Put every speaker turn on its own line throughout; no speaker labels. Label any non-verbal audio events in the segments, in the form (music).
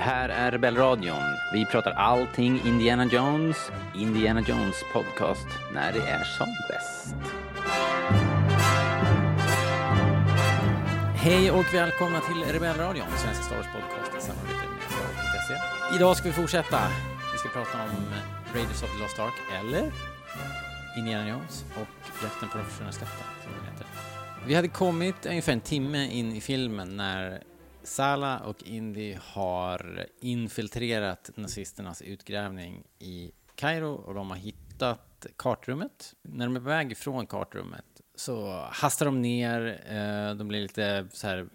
Här är Rebellradion. Vi pratar allting Indiana Jones. Indiana Jones podcast när det är som bäst. Hej och välkomna till Rebellradion, Svenska Star Wars podcast i samarbete med Star.se. Idag ska vi fortsätta. Vi ska prata om Raiders of the Lost Ark, eller Indiana Jones och Jakten på de försvunna skatten, som den heter. Vi hade kommit ungefär en timme in i filmen när Sala och Indy har infiltrerat nazisternas utgrävning i Kairo och de har hittat kartrummet. När de är på väg från kartrummet så hastar de ner, eh, de blir lite så här,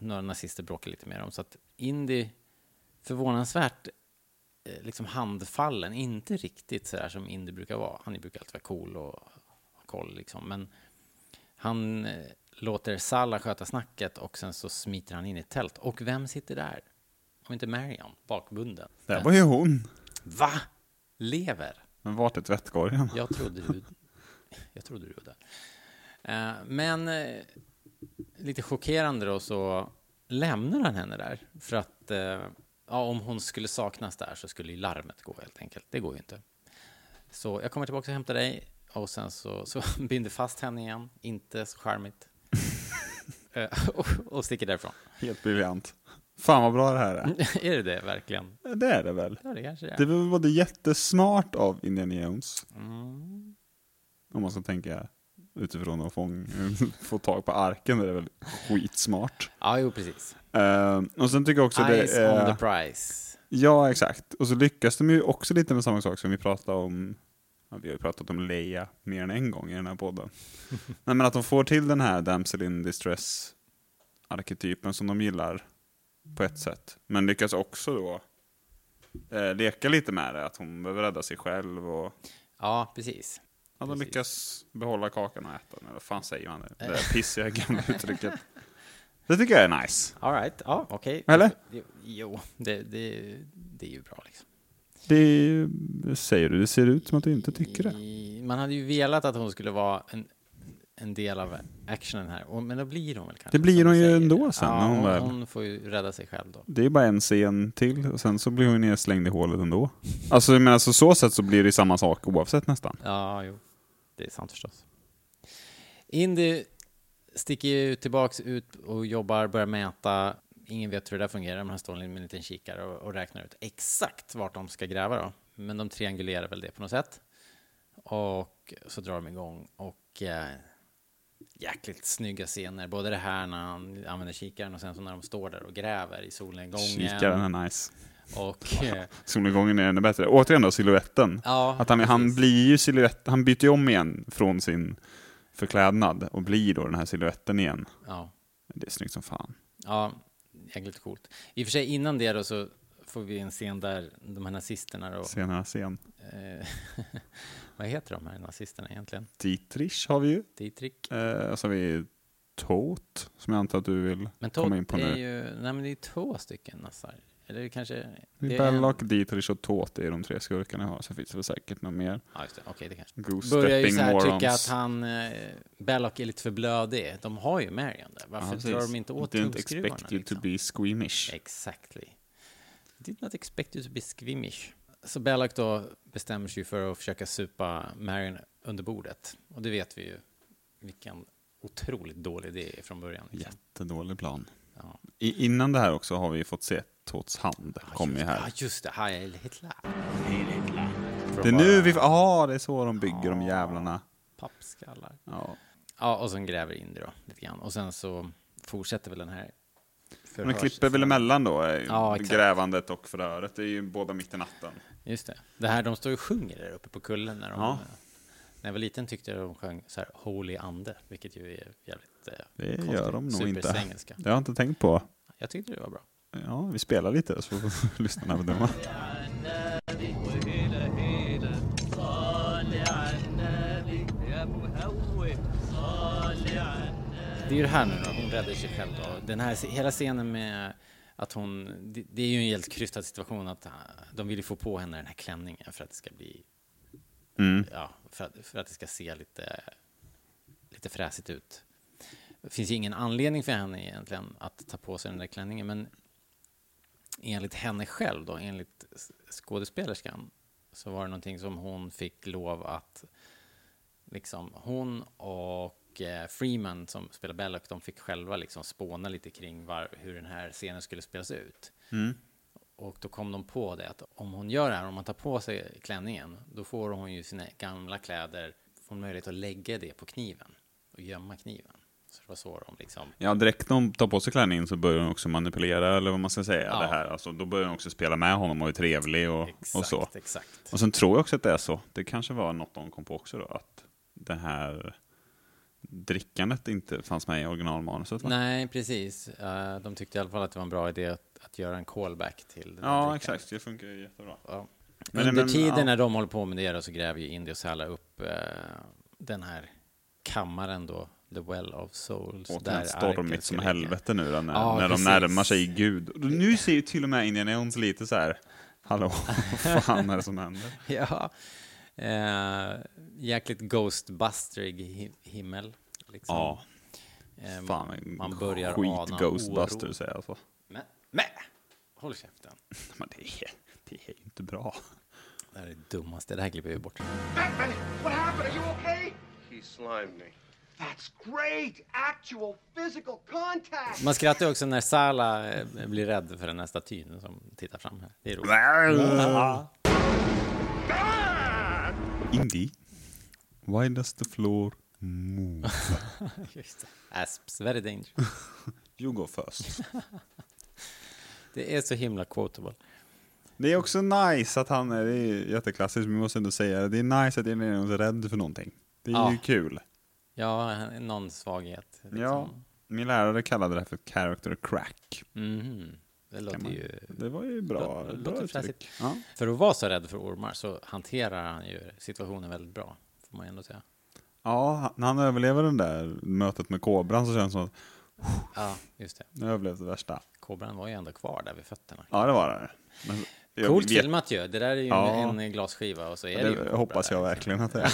några nazister bråkar lite med dem så att Indy förvånansvärt eh, liksom handfallen, inte riktigt så här som Indy brukar vara. Han brukar alltid vara cool och ha koll liksom, men han eh, låter Salla sköta snacket och sen så smiter han in i ett tält. Och vem sitter där? Om inte Marion, bakbunden.
Det var ju hon.
Va? Lever?
Men vart är tvättkorgen?
Jag trodde du... Jag trodde du var där. Eh, Men eh, lite chockerande då så lämnar han henne där. För att eh, ja, om hon skulle saknas där så skulle ju larmet gå helt enkelt. Det går ju inte. Så jag kommer tillbaka och hämtar dig och sen så, så (laughs) binder fast henne igen. Inte
(laughs)
så charmigt. Eh, och, och sticker därifrån. (laughs)
Helt briljant. Fan vad bra det här är.
är det det verkligen?
Det är det väl?
Ja, det kanske det
Det
är.
var både jättesmart av Indiana Jones,
Mm.
om man ska tänka utifrån att fång, (laughs) få tag på arken, är det väl skitsmart.
Ja, jo, precis.
Eh, och sen tycker jag också det eh,
Eyes
är...
on the prize.
Ja, exakt. Och så lyckas de ju också lite med samma sak som vi pratade om. Ja, vi har ju pratat om Leia mer än en gång i den här podden. Nej, men att de får till den här damsel in distress arketypen som de gillar på ett sätt. Men lyckas också då eh, leka lite med det, att hon behöver rädda sig själv och
Ja, precis.
att de
Precis.
lyckas behålla kakan och äta den. Eller vad fan säger man? Det där pissiga gamla uttrycket. Det tycker jag är nice.
All right, ja, okej.
Eller?
Jo, Jo, det, det, det är ju bra liksom.
Det säger du, det ser ut som att du inte tycker det.
I- Man hade ju velat att hon skulle vara en, en del av actionen här, och, men då blir hon väl kanske.
Det blir
som
hon
du
ju
säger.
ändå sen,
Ja,
när hon
hon,
väl-
hon får ju rädda sig själv då.
Det är bara en scen till och sen så blir hon nedslängd i hålet ändå. Alltså men alltså så sätt så blir det samma sak oavsett nästan.
Ja, jo. Det är sant förstås. Indy sticker ju tillbaks ut och jobbar, börjar mäta. Ingen vet hur det där fungerar, men han står med en liten kikare och, och räknar ut exakt vart de ska gräva då. Men de triangulerar väl det på något sätt. Och så drar de igång och eh, jäkligt snygga scener. Både det här när han använder kikaren och sen så när de står där och gräver i solnedgången.
Kikaren är nice.
Och eh,
Solnedgången är ännu bättre. Återigen då, siluetten.
ja,
Att han, han blir ju siluett, han byter ju om igen från sin förklädnad och blir då den här siluetten igen.
ja.
Det är snyggt som fan.
Ja, jäkligt coolt. I och för sig innan det då så får vi en scen där de här nazisterna då,
Senare scen.
eh, (laughs) vad heter de här nazisterna egentligen?
Dietrich har vi ju.
Dietrich?
Eh, och så har vi Tot, som jag antar att du vill
Men
komma
Todd
in på
är
nu.
ju, nej men det är två stycken nassar. Eller kanske... det är en-
Belloc, Dietrich och Tot är de tre skurkarna jag har. Sen finns det väl säkert något mer.
Ja, just det. Okej, det kanske.
Goose
Börjar ju
stepping
så här tycka att
morons.
han, eh, Belloc är lite för blödig. De har ju Marion där. Varför
precis.
drar de inte åt
Didn't expect
tumskruvarna?
you
Liksom?
to be squeamish.
Exactly. Did not expect you to be squeamish. Så Belloc då bestämmer sig för att försöka supa Marion under bordet. Och det vet vi ju vilken otroligt dålig idé är från början. liksom.
Jättedålig plan.
Ja.
I, innan det här också har vi fått se Tots hand kommer ju
Ja,
här.
just det. Heil Hitler.
Det är nu vi... Ja, det är så de bygger de jävlarna.
Pappskallar.
Ja.
Ja, och sen gräver in det då lite grann. Och sen så fortsätter väl den här
Man
förhörs-
klipper väl emellan då, eh,
Ja, exakt.
grävandet och förhöret. Det är ju båda mitt i natten.
Just det. Det här, de står ju och sjunger där uppe på kullen när de...
Ja.
När jag var liten tyckte jag de sjöng så här Holy Ande, vilket ju är jävligt eh,
Det
konstigt.
gör de nog inte.
Supersvengelska.
Det har jag inte tänkt på.
Jag tyckte det var bra.
Ja, vi spelar lite så (laughs) får lyssnarna bedöma.
Det är ju det här nu då, hon räddar sig själv då. Den här, hela scenen med att hon, det, det är ju en helt krystad situation att eh, de vill ju få på henne den här klänningen för att det ska bli,
Mm.
ja, för att, för att det ska se lite, lite fräsigt ut. Det finns ju ingen anledning för henne egentligen att ta på sig den där klänningen, men enligt henne själv då, enligt s- skådespelerskan, så var det någonting som hon fick lov att liksom hon och eh, Freeman som spelar Belloc, de fick själva liksom spåna lite kring var, hur den här scenen skulle spelas ut.
Mm.
Och då kom de på det att om hon gör det här, om man tar på sig klänningen, då får hon ju sina gamla kläder, får möjlighet att lägga det på kniven och gömma kniven. Så det var så de liksom,
Ja, direkt när hon tar på sig klänningen så börjar hon också manipulera, eller vad man ska säga,
Ja.
det här. Alltså, då börjar hon också spela med honom och är trevlig och, och så.
exakt, exakt.
Och sen tror jag också att det är så, det kanske var något de kom på också då, att det här drickandet inte fanns med i originalmanuset va?
Nej, precis. Eh, de tyckte i alla fall att det var en bra idé att, att göra en callback till den här
Ja,
drickan.
exakt, det funkar ju jättebra.
Ja.
Men-
Under
men,
tiden
ja.
när de håller på med det då så gräver ju Indy och Salla upp eh, den här kammaren då, The Well of Souls.
Återigen
arken
stormigt
ska
som
ligga.
liksom helvete nu då, när,
alltså, Ja,
när de
precis.
närmar sig Gud. Och nu ser ju till och med Indiana Jones lite så här,
(laughs)
hallå, vad fan är det som händer?
Ja. Eh, jäkligt Ghostbusterig hi- himmel. Liksom.
Ja,
Eh,
fan en
man börjar ana
skit
oro.
Ghostbusters är alltså.
Men, men, håll käften.
Men det är, det är ju inte
(laughs)
bra.
Det här är det dummaste, det här klipper vi bort.
Batman, what happened? Are you okay?
He slimed me.
That's great. Actual physical contact.
Man skrattar ju också när Sala eh, blir rädd för den här statyn som tittar fram här. Det är
(laughs)
roligt.
Indy, why does the floor
(laughs)
move?
Just det. Asps, very dangerous.
You go first.
Det är så himla quotable.
Det är också nice att han är, det är jätteklassiskt, men vi måste ändå säga det, det är nice att Indiana Jones är rädd för någonting. Det är
Ja. Liksom.
ju kul.
Ja, någon svaghet. Liksom.
Ja, min lärare kallade det här för character crack.
Mhm. Det låter
man-
ju...
Det var ju bra,
Lå- låter
bra
fräsigt.
uttryck. Ja.
För att vara så rädd för ormar så hanterar han ju situationen väldigt bra. Får man ju ändå säga.
ja, han- när han överlever det där mötet med kobran så känns det som att
Ja, just det.
nu överlevde det värsta.
Kobran var ju ändå kvar där vid fötterna.
Ja, det var det. Men, jag
Coolt
vet-
filmat ju. Det där är ju
Ja.
en, en glasskiva och så är det, ju en
Det
kobra
hoppas
där,
jag
liksom.
verkligen att det
(laughs)
är.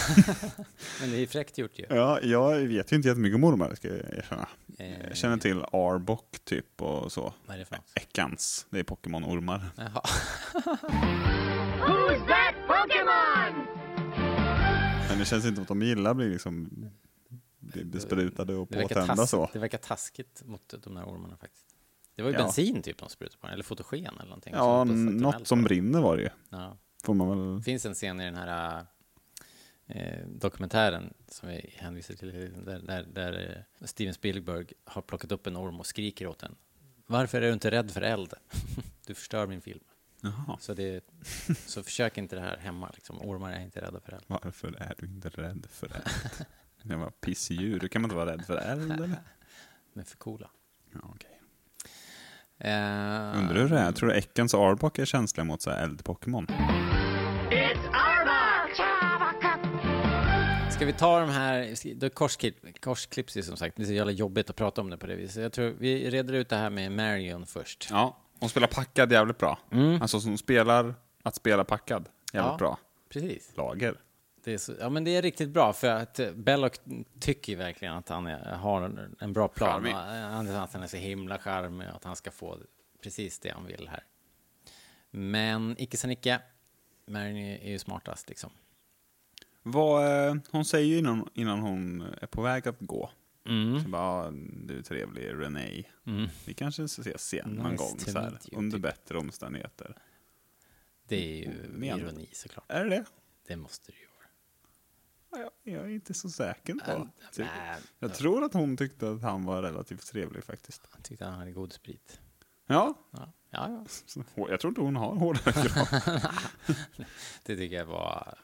Men det är ju fräckt gjort ju.
Ja, jag vet ju inte jättemycket om ormar, ska jag erkänna.
Eh,
Jag känner till Arbok typ och så.
Vad är det för något?
Äckans, det är Pokémon-ormar.
Jaha.
Who's that Pokemon?
Men det känns inte som att de gillar att bli liksom bli besprutade och
Det verkar,
påtända
tas-
så.
det verkar taskigt mot de där ormarna faktiskt. Det var ju
Ja.
bensin typ de sprutade på den, eller fotogen eller någonting.
Ja,
Så de puffade den
något som
allt.
brinner var det ju.
Ja.
Får man väl...
Det finns en scen i den här eh, dokumentären som vi hänvisar till, där, där, där eh, Steven Spielberg har plockat upp en orm och skriker åt den. Varför är du inte rädd för eld? (laughs) Du förstör min film.
Jaha.
Så, det, så försök inte det här hemma. Liksom. Ormar är inte rädda för eld.
Varför är du inte rädd för eld? Det var pissdjur, då kan man inte vara rädd för eld
(laughs)
eller?
De är för coola.
Ja, okej.
Eh,
Undrar hur det är, jag tror Äckans och Arbok är känsliga mot så här eld-Pokémon.
It's Arbok! Chavaka!
Ska vi ta de här, det korsklipp, korsklipps ju som sagt, det är så jävla jobbigt att prata om det på det viset. Jag tror vi reder ut det här med Marion först.
Ja, hon spelar packad jävligt bra. Alltså hon spelar, att spela packad, jävligt
Mm. Ja.
bra.
Precis.
Lager.
Det är så, ja men det är riktigt bra för att eh, Belloc tycker ju verkligen att han är, har en, en bra plan.
Charmig.
Och, eh, Han, att han är så himla charmig och att han ska få precis det han vill här. Men icke sa Nicke, Marion är är ju smartast liksom.
Vad, eh, hon säger ju innan, innan hon är på väg att gå.
Mm.
Så bara, "Ah, du är trevlig Renee. Vi kanske ses igen någon
Nice
gång
to
så här,
meet you,
under
typ.
bättre omständigheter.
Det är ju
Men-
ironi såklart.
Är det det?
Det måste det ju vara.
Ja, Jag är inte så säker
Äh,
på. Ty-
nej.
Jag tror att hon tyckte att han var relativt trevlig faktiskt.
Han tyckte han hade god sprit.
Ja,
Ja, ja, ja.
så- jag tror inte hon har hårdare (laughs) krav.
det tycker jag var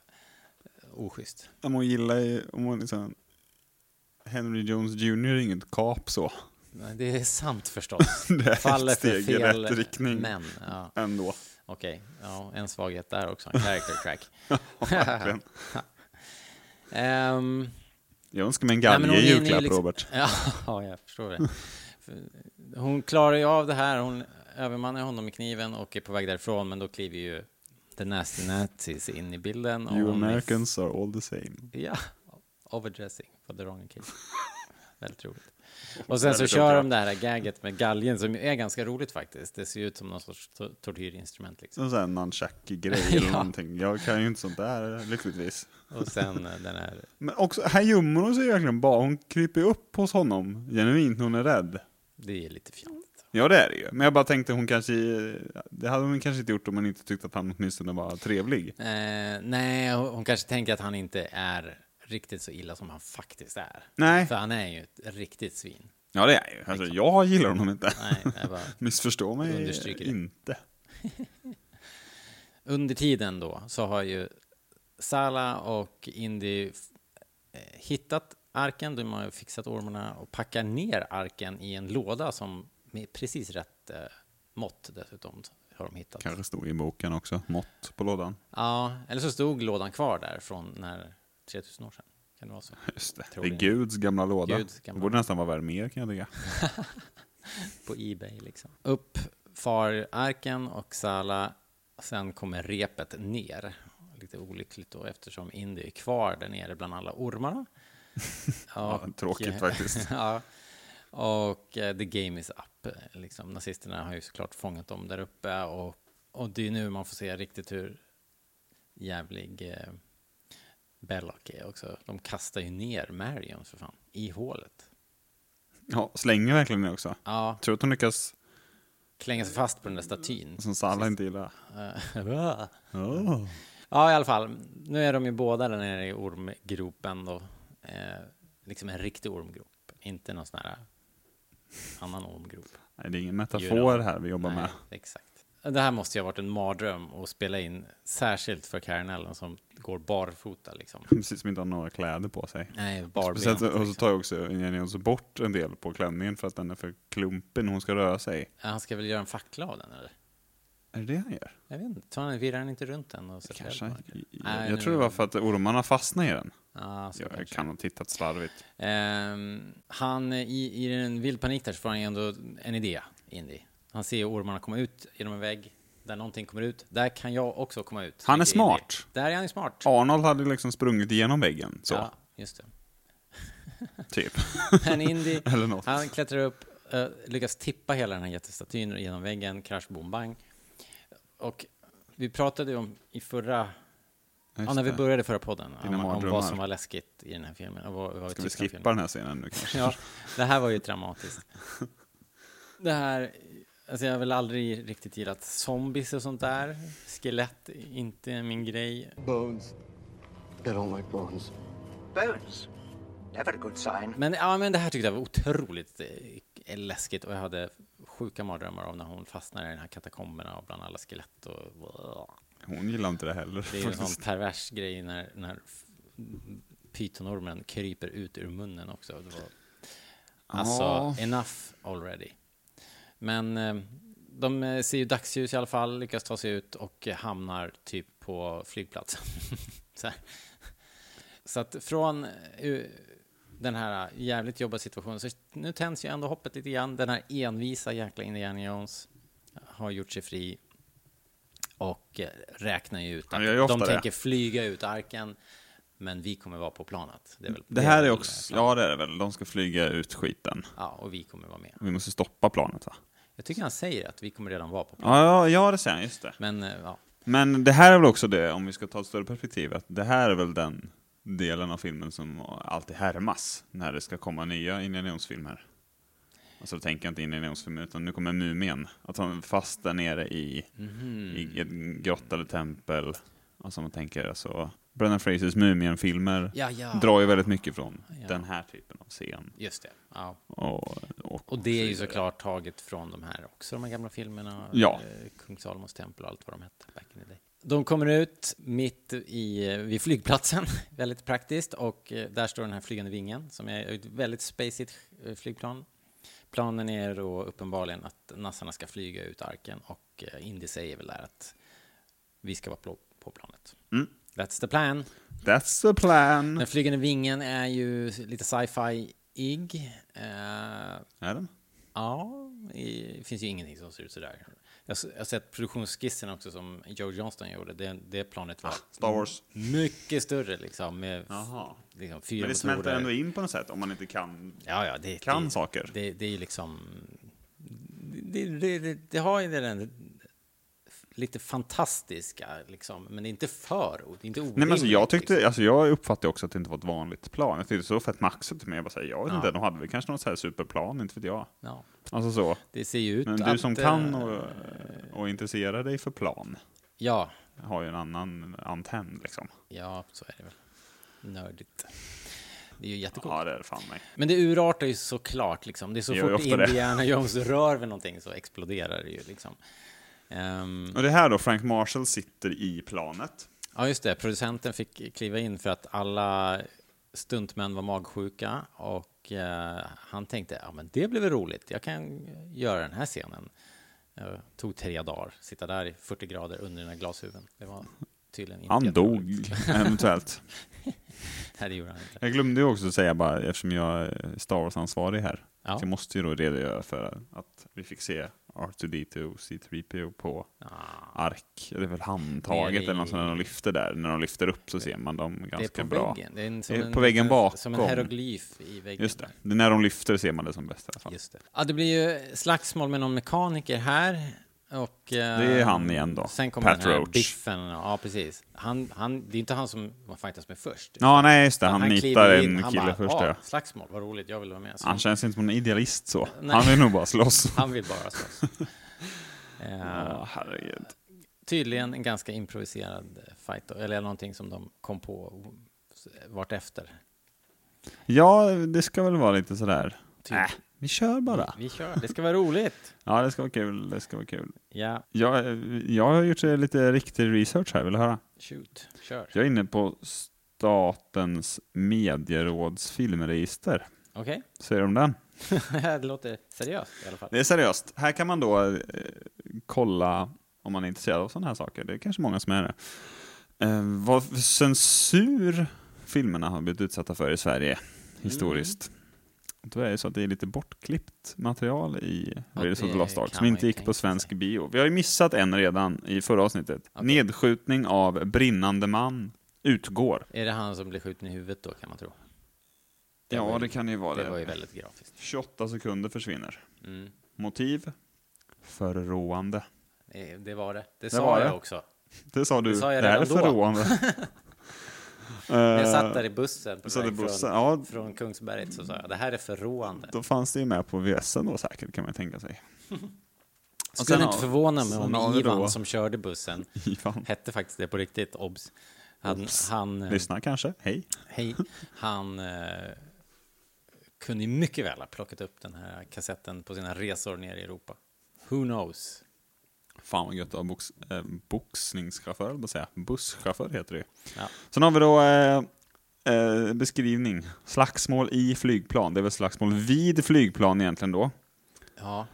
eh, oschysst.
Om hon gillar ju- om hon liksom, Henry Jones Jr är inget kap så.
Men det är sant förstås.
(laughs) Det är ett
Faller för
steg i
fel
rätt riktning.
män. Ja,
Ändå.
Okej, ja, en svaghet där också. En character
(laughs)
crack.
Verkligen.
(laughs) Ehm,
Jag önskar mig en
Nej, men
galge i
hon hinner ju
julklapp,
liksom-
Robert.
(laughs) Ja, ja, jag förstår det. För Hon klarar ju av det här. Hon övermannar honom med kniven och är på väg därifrån, men då kliver ju The Nasty Nazis in i bilden. och
You
hon är-
Americans are all the same.
Ja, overdressing for the
(laughs)
wrong occasion. Väldigt roligt. Och sen så
Väldigt
kör de
roligt.
det här gaget med galgen som ju är ganska roligt faktiskt. Det ser ju ut som någon sorts to- tortyrinstrument liksom.
Som sån (laughs) nunchucky-grej eller
Ja.
någonting. Jag kan ju inte sånt där, lyckligtvis.
Och sen eh, den här,
Men också, här gömmer hon sig verkligen bara. Hon kryper upp hos honom genuint när hon är rädd.
det är lite fjantigt.
Ja, det är det ju. Men jag bara tänkte hon kanske... Det hade hon kanske inte gjort om hon inte tyckte att han åtminstone var trevlig.
Eh, nej, hon hon kanske tänker att han inte är riktigt så illa som han faktiskt är.
Nej.
För han är ju ett riktigt svin.
Ja, det är ju. Alltså, jag gillar honom inte.
Nej, det är bara...
(laughs) Missförstå mig
Understryker det.
inte.
Under tiden då så har ju Sala och Indy f- eh, hittat arken, de har ju fixat ormarna och packar ner arken i en låda som med precis rätt eh, mått dessutom har de hittat.
Kanske stod i boken också. Mått på lådan.
Ja, eller så stod lådan kvar där från när 3000 år sedan. Kan det vara så?
Just det.
Tror
Det är
det.
Guds gamla låda.
Guds gamla.
Det borde nästan vara värd mer kan jag tycka.
På Ebay liksom. Upp far arken och Sala, sen kommer repet ner. Lite olyckligt då eftersom Indy är kvar där nere bland alla ormarna.
(laughs) Ja, tråkigt faktiskt.
(laughs) ja. Och eh, the game is up. eh, Liksom. Nazisterna har ju såklart fångat dem där uppe och, och det är nu man får se riktigt hur jävlig eh, Belloc är också. De kastar ju ner Marion för fan, i hålet.
Ja, slänger verkligen det också.
Ja,
Tror att hon lyckas,
klänga sig fast på den där statyn.
som Salla inte gillar.
Eh, (laughs)
Oh.
Ja, i alla fall. Nu är de ju båda där nere i ormgropen då. Eh, liksom en riktig ormgrop, inte någon sån här annan ormgrop.
Nej, det är ingen metafor
Djuren.
här vi jobbar
Nej,
med.
Exakt. Det här måste ju ha varit en mardröm att spela in, särskilt för Karen Allen som går barfota liksom.
(laughs) Precis som inte har några kläder på sig.
Nej, barbent.
Speciellt, och så
Liksom.
tar jag också Jenny Jonsson bort en del på klänningen för att den är för klumpen när hon ska röra sig.
Han ska väl göra en fackla av den eller?
Är det det han gör?
Jag vet inte, tar han, virrar han inte runt den och sätter
Kanske.
eld på
Jag,
den?
jag,
nu-
tror det var för att ormarna fastnade i den.
Ja, så
Jag, jag
kanske.
kan ha tittat
(laughs)
slarvigt.
Ehm, han, eh, i, i en vild panik där så får han ju ändå en idé, Indy. Han ser ju ormarna komma ut genom en vägg, där någonting kommer ut. Där kan jag också komma ut.
Han är
tycker Indy.
smart.
Där är han ju smart.
Arnold hade liksom sprungit igenom väggen, så,
Ja, just det.
typ.
(laughs) Men Indy,
Eller något.
han klättrar upp, eh, lyckas tippa hela den här jättestatyn genom väggen, krasch, bom, bang. Och vi pratade ju om i förra, ja, när vi
det.
började förra podden,
Dina
om, om
mardrömmar.
vad som var läskigt i den här filmen. Och vad, vad
Ska
tyckte
vi
om
skippa
filmen.
den här scenen
(laughs)
nu kanske?
Ja, det här var ju dramatiskt. Det här, alltså jag har väl aldrig riktigt gillat zombies och sånt där. Skelett, är inte min grej.
Bones. I don't like bones.
Bones. Never a good sign.
Men, ja, men det här tyckte jag var otroligt eh, läskigt och jag hade sjuka mardrömmar om när hon fastnade i den här katakomberna och bland alla skelett och...
Hon gillar inte det heller.
Det är ju en sån
faktiskt.
pervers grej när, när f- pytonormen kryper ut ur munnen också. Det var, alltså,
Ja.
enough already. Men eh, de eh, ser ju dagsljus i alla fall, lyckas ta sig ut och eh, hamnar typ på flygplatsen. (laughs) Så, här. så att från eh, den här jävligt jobbiga situationen, så nu tänds ju ändå hoppet lite grann. Den här envisa jäkla Indiana Jones har gjort sig fri och eh, räknar ju ut
Han gör ju ofta
de
det.
tänker flyga ut arken, men vi kommer vara på planet. Det, är väl,
Det här
väl
är också,
planen.
ja det är det väl, de ska flyga ut skiten.
ja, och vi kommer vara med.
Vi måste stoppa planet va?
Jag tycker han säger att vi kommer redan vara på planet.
Ja, ja, ja det säger han, just det.
Men eh, ja,
Men det här är väl också det, om vi ska ta ett större perspektiv, att det här är väl den delen av filmen som alltid härmas när det ska komma nya Indiana Jones-filmer. Alltså då tänker jag inte Indiana Jones-filmer, utan nu kommer Mumien. Att han är fast där nere i,
Mhm.
i en grotta eller tempel. Alltså man tänker alltså, Brendan Frasers Mumien-filmer
Ja, ja.
drar ju väldigt mycket från
Ja.
den här typen av scen.
Just det. Ja.
Och, och,
Och det är ju såklart taget från de här också, de här gamla filmerna.
Ja.
eh, Kung Salomos tempel och allt vad de hette back in the day. De kommer ut mitt i, eh, vid flygplatsen, (laughs) väldigt praktiskt, och eh, där står den här flygande vingen som är ett väldigt spacigt eh, flygplan. Planen är då uppenbarligen att nassarna ska flyga ut arken och eh, Indy säger väl där att vi ska vara på, på planet. That's the plan.
That's the plan!
Den flygande vingen är ju lite sci-fi-ig. Eh,
Är den?
Ja, i- det finns ju ingenting som ser ut sådär. Jag s- jag har sett produktionsskissen också som Joe Johnston gjorde. Det, det planet var
Ah, Star Wars.
mycket större liksom. Med
Jaha.
liksom
Men
fyra
det
motorer.
smälter ändå in på något sätt om man inte kan
Ja, ja, det,
kan
det,
saker.
Det, det är ju liksom... Det, det, det, det har ju den lite fantastiska, liksom, men det är inte för det är inte
Nej, men alltså, jag,
orimligt,
tyckte,
liksom.
alltså, jag uppfattade också att det inte var ett vanligt plan. Jag tyckte så fett maxat till mig. Jag bara säger, jag vet
Ja.
inte, de hade väl kanske något så här superplan, inte vet jag.
Ja,
Alltså så.
det ser ju ut
Men du
att,
som
eh,
kan och, och intresserar dig för plan
Ja,
har ju en annan antenn liksom.
ja, så är det väl. Nördigt. Det är ju jättekul.
Ja, det är det fan mig.
Men det urartar ju såklart liksom. Det är så
Det gör ju
fort
ofta det.
Indiana Jones rör vid någonting så exploderar det ju liksom. Ehm,
Och det här då, Frank Marshall sitter i planet.
ja just det, producenten fick kliva in för att alla stuntmän var magsjuka och eh, han tänkte, ja men det blir väl roligt, jag kan göra den här scenen. Eh, tog tre dagar, sitta där i 40 grader under den här glashuven. Det var tydligen inte
Han
jätteroligt.
dog, eventuellt.
Nej, det gjorde han inte.
Jag glömde ju också säga bara, eftersom jag är Star Wars-ansvarig här,
Ja.
så jag måste ju då redogöra för att vi fick se R2D2 och C3PO på ark, det är väl handtaget
Nere Ah. i-
eller något sånt när de lyfter där. När de lyfter upp så ser man dem
Det är
ganska
på
bra.
väggen. liksom. Det är, en,
Det är på väggen bakom.
Som en hieroglyf i väggen.
Just det.
där.
det, är när de lyfter ser man det som bäst i alla fall.
Just det. Ja, det blir ju slagsmål med någon mekaniker här. Och, det
är han igen då,
Sen kommer
Pat
den här
Roach.
biffen. och- Ja, precis. Han, han, det är inte han som man fightas med först.
Ja, nej just det, han,
kliver
nitar
in,
en
han
kille
bara,
först
"Ah,
ja.
Slagsmål, vad roligt, jag vill vara med. Så
Han känns inte som en idealist så.
Nej.
Han vill nog bara slåss.
(laughs) han vill bara slåss.
(laughs)
Eh,
Ja, herregud.
tydligen en ganska improviserad fight, då, eller någonting som de kom på vart efter.
Ja, det ska väl vara lite sådär.
Typ.
Äh, vi kör bara.
Vi kör, det ska vara roligt.
Ja, det ska vara kul. Det ska vara kul.
Ja,
Jag, jag har gjort eh, lite riktig research här, vill du höra?
shoot, kör.
Jag är inne på Statens medieråds filmregister.
Okej, (laughs)
Säger du om den?
det låter seriöst i alla fall.
Det är seriöst. Här kan man då eh, kolla om man är intresserad av sådana här saker. Det är kanske många som är det. Eh, vad för censur filmerna har blivit utsatta för i Sverige historiskt.
Mm.
Och Då är det så att det är lite bortklippt material i
Ja,
Raiders of
det
the Lost Ark
kan
som
man
inte
ju
gick
tänka
på svensk bio. Vi har ju missat en redan i förra avsnittet. Nedskjutning av brinnande man utgår.
Är det han som blir skjuten i huvudet då kan man tro? Det var
Ja,
ju-
det kan ju vara
Det
det.
var ju väldigt grafiskt.
28 sekunder försvinner.
Mm.
Motiv? Förråande.
Eh, Det var det. Det, sa
var
jag
det.
också.
Det sa du.
Det
Det,
sa jag
här är
redan då. (laughs)
förråande.
När jag
Eh,
satt där i bussen på
satt i
väg
bussen,
från,
ja.
från Kungsberget så sa jag det här är förråande.
Då fanns det ju med på VSN då säkert, kan man tänka sig. Och
Skulle
sen
inte
har-
förvåna mig
sen
om
har vi
Ivan
då-
som körde bussen
Ivan.
hette faktiskt det på riktigt, obs. Han, han, eh,
Lyssna kanske, hej.
hej, han eh, kunde ju mycket väl ha plockat upp den här kassetten på sina resor ner i Europa. Who knows?
Fan vad gött att ha box, eh, boxningschaufför, höll jag på att säga. Busschaufför heter det ju.
Ja.
Sen har vi då eh, eh, beskrivning. Slagsmål i flygplan, det är väl slagsmål vid flygplan egentligen då.
Ja,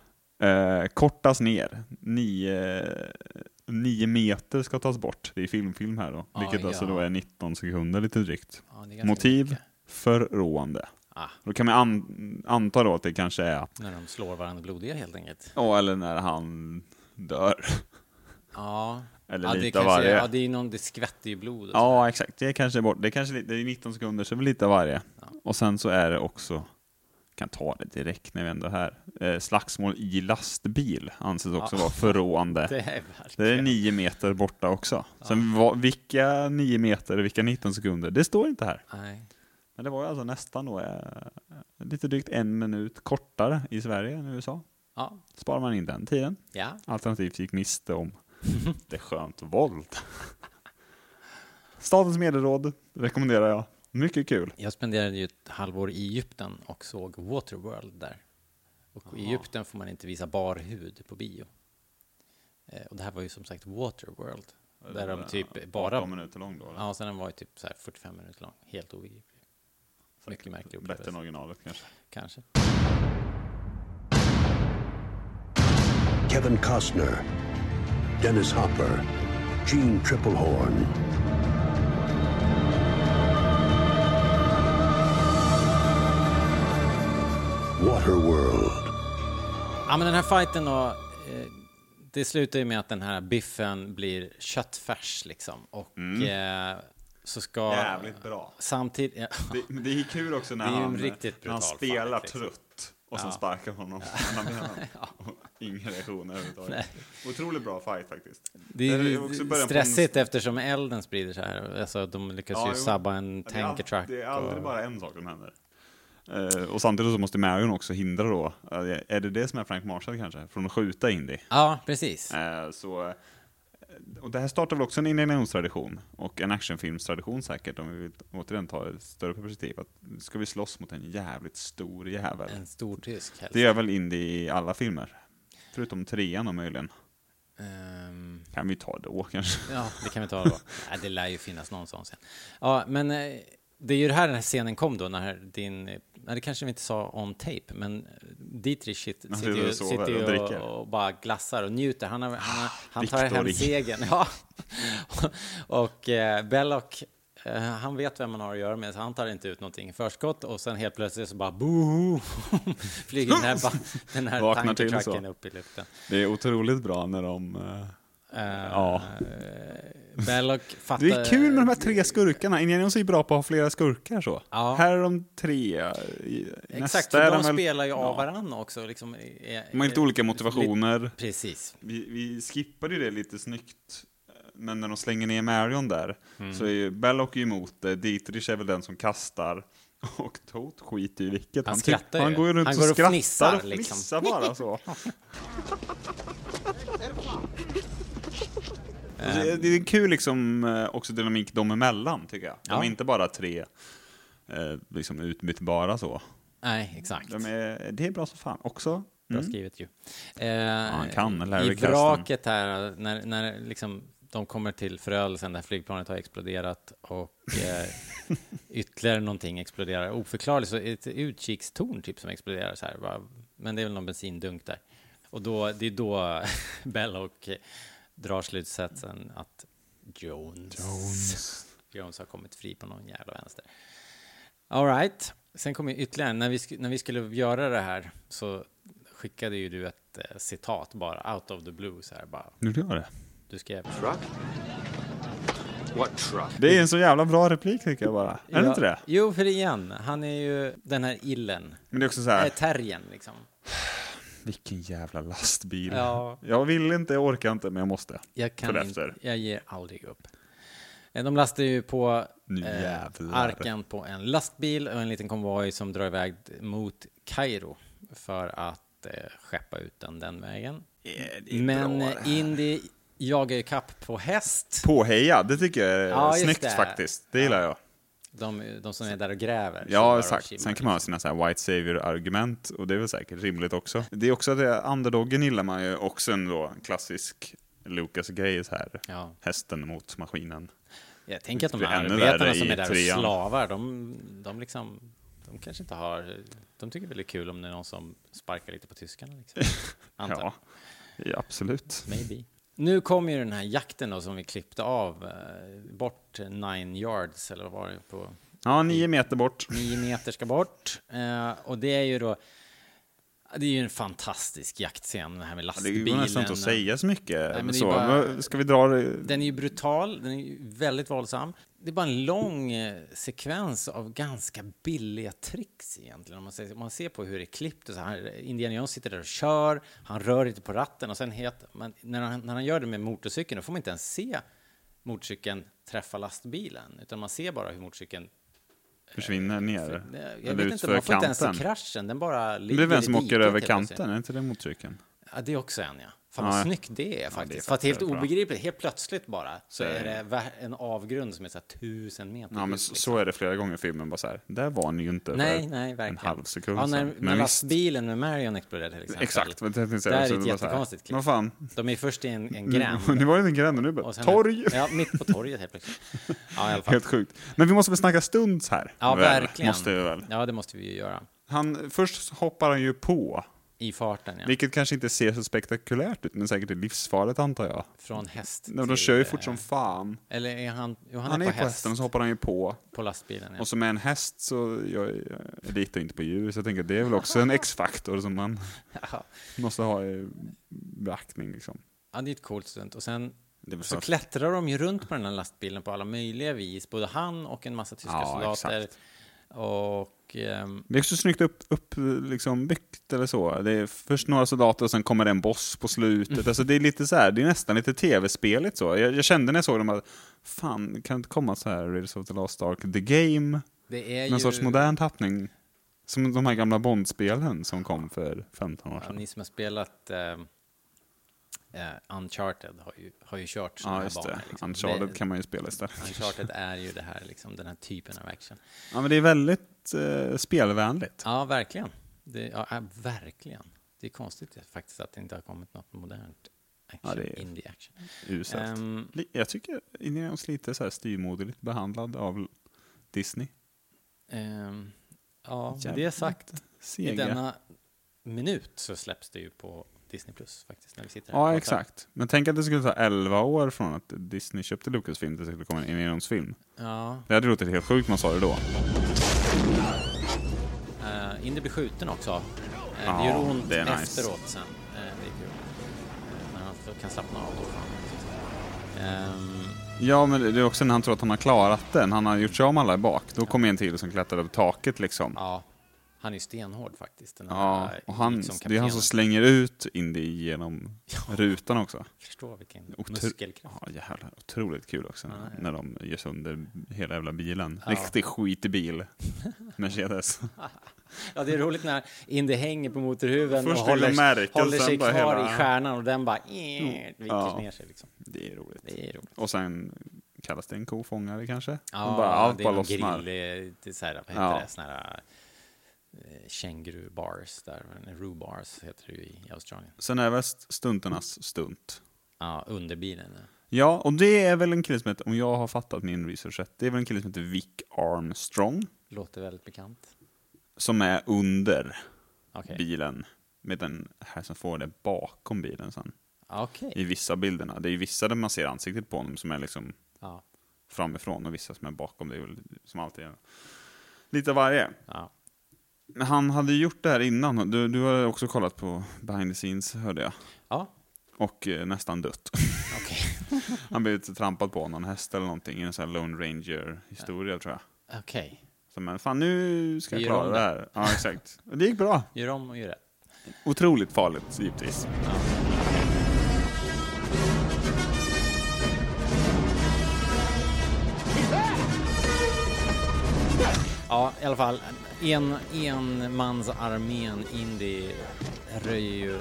Eh, kortas ner. Nio, nio meter ska tas bort. Det är filmfilm här då.
Ah,
vilket alltså
ja.
då är 19 sekunder lite drygt.
ja det är ganska
Motiv?
mycket.
Förråande.
Ah.
Då kan man an anta då att det kanske är,
När de slår varandra blodiga helt enkelt.
ja eller när han dör. (laughs)
Ja.
Eller
ja, det
lite av
kanske-
varje.
Ja, det, är någon, det skvätter ju blod. Och
Ja exakt, det är kanske bort. Det, är kanske, li- det är 19 sekunder så det är väl lite av varje. Och sen så är det också kan ta det direkt när vi ändå är här. Eh, slagsmål i lastbil anses också
Ja.
vara förråande.
(laughs) Det är
Det är
verkligen...
nio meter borta också. Sen va, vilka nio meter, vilka 19 sekunder, det står inte här.
Nej.
Men det var ju alltså nästan då eh, lite drygt en minut kortare i Sverige än i USA.
Ja.
Sparar man in den tiden.
ja.
Alternativt gick miste om (laughs) det skönt våld. Statens medelråd rekommenderar jag. Mycket kul.
Jag spenderade ju ett halvår i Egypten och såg Waterworld där. Och i Egypten får man inte visa bar hud på bio. Eh, och det här var ju som sagt Waterworld. Där de typ bara...
18 Eh, minuter lång då? eller?
Ja, sen den var ju typ så här 45 minuter lång. Helt obegriplig. Mycket märklig
Bättre än
upplevelse.
originalet kanske.
Kanske.
Kevin Costner, Dennis Hopper, Gene Triplehorn. Waterworld.
Ja, men den här fighten då. Eh, det slutar ju med att den här biffen blir köttfärs liksom. Och eh, så ska...
Mm. Jävligt bra.
Samtidigt... Ja.
Det, men det är kul också när
Det är ju
han,
riktigt
när han
brutal
spelar
fight, liksom.
trött och sen sparkar honom mellan
(laughs)
benen. Och Inga reaktioner överhuvudtaget. Otroligt bra fight faktiskt.
(laughs) Det är
Eller
ju
också början på en-
stressigt eftersom elden sprider sig här. Alltså, de lyckas
Ja,
ju
jo.
sabba en
Ja, det är all-
tanker truck.
Det är aldrig
och...
bara en sak som händer. Eh, och samtidigt så måste Marion också hindra då, eh, är det det som är Frank Marshall kanske, från att skjuta Indy?
Ja, precis.
Eh, så, eh, och det här startar väl också en indianationstradition och en actionfilmstradition säkert, om vi vill återigen ta ett större perspektiv. Att ska vi slåss mot en jävligt stor jävel?
En stor tysk helst.
Det gör väl Indy i alla filmer? Förutom trean då möjligen.
Ehm,
Kan vi ta då (laughs) kanske?
ja, (laughs) det kan vi ta då. Nej, det lär ju finnas någon sån sen. Ja, men eh, det är ju det här den här scenen kom då, när din... eh, Nej, det kanske vi inte sa on tape, men Dietrich sit-
Han
sitter
sitter
ju,
och sover
sitter
och
ju
dricker. Ah,
och, och bara glassar och njuter. Han, har, han, har, han tar hem
Victory.
segern. (laughs) Ja. och eh, Belloc, eh, han vet vem man har att göra med, så han tar inte ut någonting i förskott och sen helt plötsligt så bara boho, (laughs) flyger den här,
(laughs)
ba- den här
Vaknar till så.
tankertrucken upp i luften.
Det är otroligt bra när de... eh, ja.
Belloc fattar...
Det är kul med de här tre skurkarna. Indianerna är ju bra på att ha flera skurkar så.
eh, Ja.
Här är de tre. eh, i-
Exakt,
nästa
för
är
de
väl-
spelar ju
Ja.
av varandra också. Liksom, är,
De har lite olika motivationer.
Precis.
Vi, vi skippade ju det lite snyggt. eh, Men när de slänger ner Marion där
Mm.
så är ju Belloc ju emot det. Dietrich är väl den som kastar. (laughs) Och Tote skiter ju i vilket.
Han
tyck-
skrattar ju.
Han går ju runt
Han
och
går och
skrattar
fnissar,
och
liksom.
fnissar bara så.
(laughs)
Det, det är kul liksom eh, också dynamik dem emellan tycker jag. De
Ja.
är inte bara tre eh, liksom utbytbara så.
Nej, exakt.
De är, det är bra som fan också.
Bra skrivet ju. Eh,
Mm. han kan, Larry
I
Karsten.
vraket här, när, när liksom de kommer till förödelsen där flygplanet har exploderat och eh,
(laughs)
ytterligare någonting exploderar. Oförklarligt, så är det ett utkikstorn typ som exploderar så här. va? Men det är väl någon bensindunk där. Och då, det är då (laughs) Bella och eh, drar slutsatsen att Jones, (laughs) Jones. har kommit fri på någon jävla vänster. All right. Sen kommer ytterligare en. När vi, sk- när vi skulle göra det här så skickade ju du ett eh, citat bara out of the blue så här bara.
Nu gör det.
Du skrev.
What truck?
Det är en så jävla bra replik tycker jag bara. Är det inte det?
Jo, för igen, han är ju den här illen.
Men det är också så
Äh,
här.
terriern liksom.
Vilken jävla lastbil.
Ja.
Jag vill inte, jag orkar inte, men jag måste.
Jag kan inte,
Förefter.
jag ger aldrig upp. Eh, De lastar ju på
Nu
eh,
jävlar.
arken på en lastbil och en liten konvoj som drar iväg mot Kairo för att eh, skeppa ut den den vägen. Men eh, Indy jagar ju kapp på häst,
Påheja, det tycker jag är
Ja, just
snyggt
det.
faktiskt. Det gillar jag.
de, de som är där och gräver.
Ja,
Killar och
exakt.
tjimmar.
Sen kan man ha sina så här white savior-argument och det är väl säkert rimligt också. Det är också det, underdogen gillar man ju också en då klassisk Lucas-grej så här.
Ja.
Hästen mot maskinen.
Jag tänker att de
Det är
här
ännu
arbetarna
värre
som
i
är där och
trean.
slavar, de, de liksom... De kanske inte har... De tycker väl det är kul om det är någon som sparkar lite på tyskarna liksom. Antar jag.
(laughs) Ja, ja absolut.
Maybe. Nu kommer ju den här jakten då som vi klippte av eh, bort nine yards eller vad var det på
Ja, nio meter bort.
nio meter ska bort. Eh, och det är ju då, det är ju en fantastisk jaktscen det här med
Det
lastbilen. eh,
går nästan inte att säga så mycket.
men det är
så.
bara-
Ska vi dra det?
Den är ju brutal, den är ju väldigt våldsam. det är bara en lång eh, sekvens av ganska billiga tricks egentligen. Om man, säger, om man ser på hur det är klippt. Och så här, Indiana Jones sitter där och kör, han rör inte på ratten och sen het, men när, han, när han gör det med motorcykeln då får man inte ens se motorcykeln träffa lastbilen utan man ser bara hur motorcykeln... eh,
Försvinner ner.
Jag
eller
vet
ut
inte,
för
man får inte ens se
kanten.
kraschen, den bara
Det
ligger
blir
i
vem som åker
diket
över
helt plötsligt.
kanten, är inte det motorcykeln?
Ja, det är också en, ja. Fan vad
Ja.
snyggt det är faktiskt.
faktiskt
Fast helt
väldigt bra.
obegripligt, helt plötsligt bara, så
Det
är
är-
det vä- en avgrund som är så här tusen meter.
Ja, men
djup,
så-
liksom.
så är det flera gånger i filmen. Bara så här, där var ni ju inte
Nej,
för
nej, verkligen.
en halv sekund
ja, när,
sedan.
när
Men visst,
lastbilen med Marion exploderade till exempel.
exakt. Men det finns
Där är
så bara
ett
så här,
jättekonstigt klipp.
Vad fan,
De är först i en, en gränd.
(laughs) Nu var det en gränd och nu bara
och sen-
torg.
Ja, mitt på torget helt plötsligt. Ja, i alla
(laughs)
fall.
Helt sjukt. Men vi måste väl snacka stunds här?
ja,
väl?
verkligen.
Måste vi väl.
Ja, det måste vi ju göra.
Han, först hoppar han ju på,
I farten, ja.
vilket kanske inte ser så spektakulärt ut, men säkert är livsfarligt antar jag.
Från häst
Nej, men De
till,
kör ju
eh,
fort som fan.
Eller är han... Jo, han,
Han,
är,
är ju
på,
på
häst,
hästen och så hoppar han ju på.
på lastbilen, ja.
Och så med en häst så, jag, jag litar inte på djur, så jag tänker att det är väl också
(laughs)
en X-faktor som man
Ja.
måste ha i beaktning liksom.
Ja, det är ett coolt stunt. Och sen
Det är väl
så
snart-
klättrar de ju runt på den här lastbilen på alla möjliga vis. Både han och en massa tyska
Ja,
soldater.
exakt.
Och... ehm,
Det är också snyggt upp, upp liksom byggt eller så. Det är först några soldater och sen kommer det en boss på slutet. Alltså det är lite så här, det är nästan lite tv-speligt så. Jag, jag kände när jag såg dem att fan, kan det inte komma så här Raiders of the Lost Ark, The Game?
det är
Någon
ju...
sorts modern tappning. Som de här gamla Bond-spelen som kom för 15 år
Ja,
sedan.
ni som har spelat ehm, eh, Uncharted har ju, har ju kört såna
Ja,
här
just
banor.
det.
liksom.
Uncharted kan man ju spela istället.
Uncharted är ju det här, liksom, den här typen av action.
Ja, men det är väldigt eh, spelvänligt.
Ja, verkligen. Det, ja, ja, verkligen. Det är konstigt det, faktiskt att det inte har kommit något modernt action,
Ja, det är-
indie-action.
Uselt.
Ehm,
Li- Jag tycker Indiana Jones lite så här styrmoderligt behandlad av Disney.
ehm, ja, med det
Jävligt.
sagt.
Sega.
I denna minut så släpps det ju på Disney Plus faktiskt, när vi sitter här och
Ja,
pratar.
exakt. Men tänk att det skulle ta 11 år från att Disney köpte Lucasfilm till att det skulle komma en Indiana-film.
Ja,
Det hade låtit helt sjukt om man sa det då.
uh, Indy blir skjuten också. Eh, det
Ja,
gör ont
det är nice.
efteråt sen. Eh, det är kul. Eh, när han f- kan slappna av då. får han, så att säga. Ehm,
Ja, men det är också när han tror att han har klarat den. Han har gjort sig om alla i bak. Då kommer en till som klättrar upp taket liksom.
ja, han är ju stenhård faktiskt. Den
Ja,
här,
och han,
liksom,
det är han som
kaptenen.
slänger ut Indy genom rutan också.
Förstår vilken
Otro-
muskelkraft.
Ja, jävlar. Otroligt kul också när,
Ja, ja.
när de gör sönder hela jävla bilen.
Ja.
Riktig skitig bil. Mercedes.
Ja, det är roligt när Indy hänger på motorhuven och
Först
håller,
lilla märken,
håller
sen
sig kvar
bara hela-
i stjärnan och den bara eh, viker
Ja.
ner sig. Liksom.
Det är roligt.
Det är roligt.
Och sen kallas det en kofångare kanske?
Ja,
De bara, allt
det är
bara
någon
lossnar.
grill, det är, det är så här, vad heter
Ja.
det, såna här eh, känguru-bars där, men roo-bars heter det ju i i Australien.
Sen är väl st- stunternas stunt.
Ja, under bilen. ja.
Ja, och det är väl en kille som heter, om jag har fattat min research rätt, det är väl en kille som heter Vic Armstrong
Låter väldigt bekant.
som är under
Okej.
bilen med den här som får det bakom bilen sen.
Okej.
I vissa bilderna. Det är ju vissa där man ser ansiktet på honom som är liksom
Ja,
framifrån och vissa som är bakom. Det är väl som alltid lite av varje.
ja.
Men han hade ju gjort det här innan. Du, du har också kollat på behind the scenes hörde jag.
ja
Och eh, nästan dött.
okej.
(laughs) Han blev lite trampad på av någon häst eller någonting i en sån här Lone Ranger-historia tror jag.
Okej.
Så men fan nu ska
Vi
jag
gör
klara
om
det
det.
här. Ja exakt. Och Det gick bra.
Gör om och gör rätt.
Otroligt farligt givetvis.
Ja, i alla fall. En, en mans armén Indy röjer ju,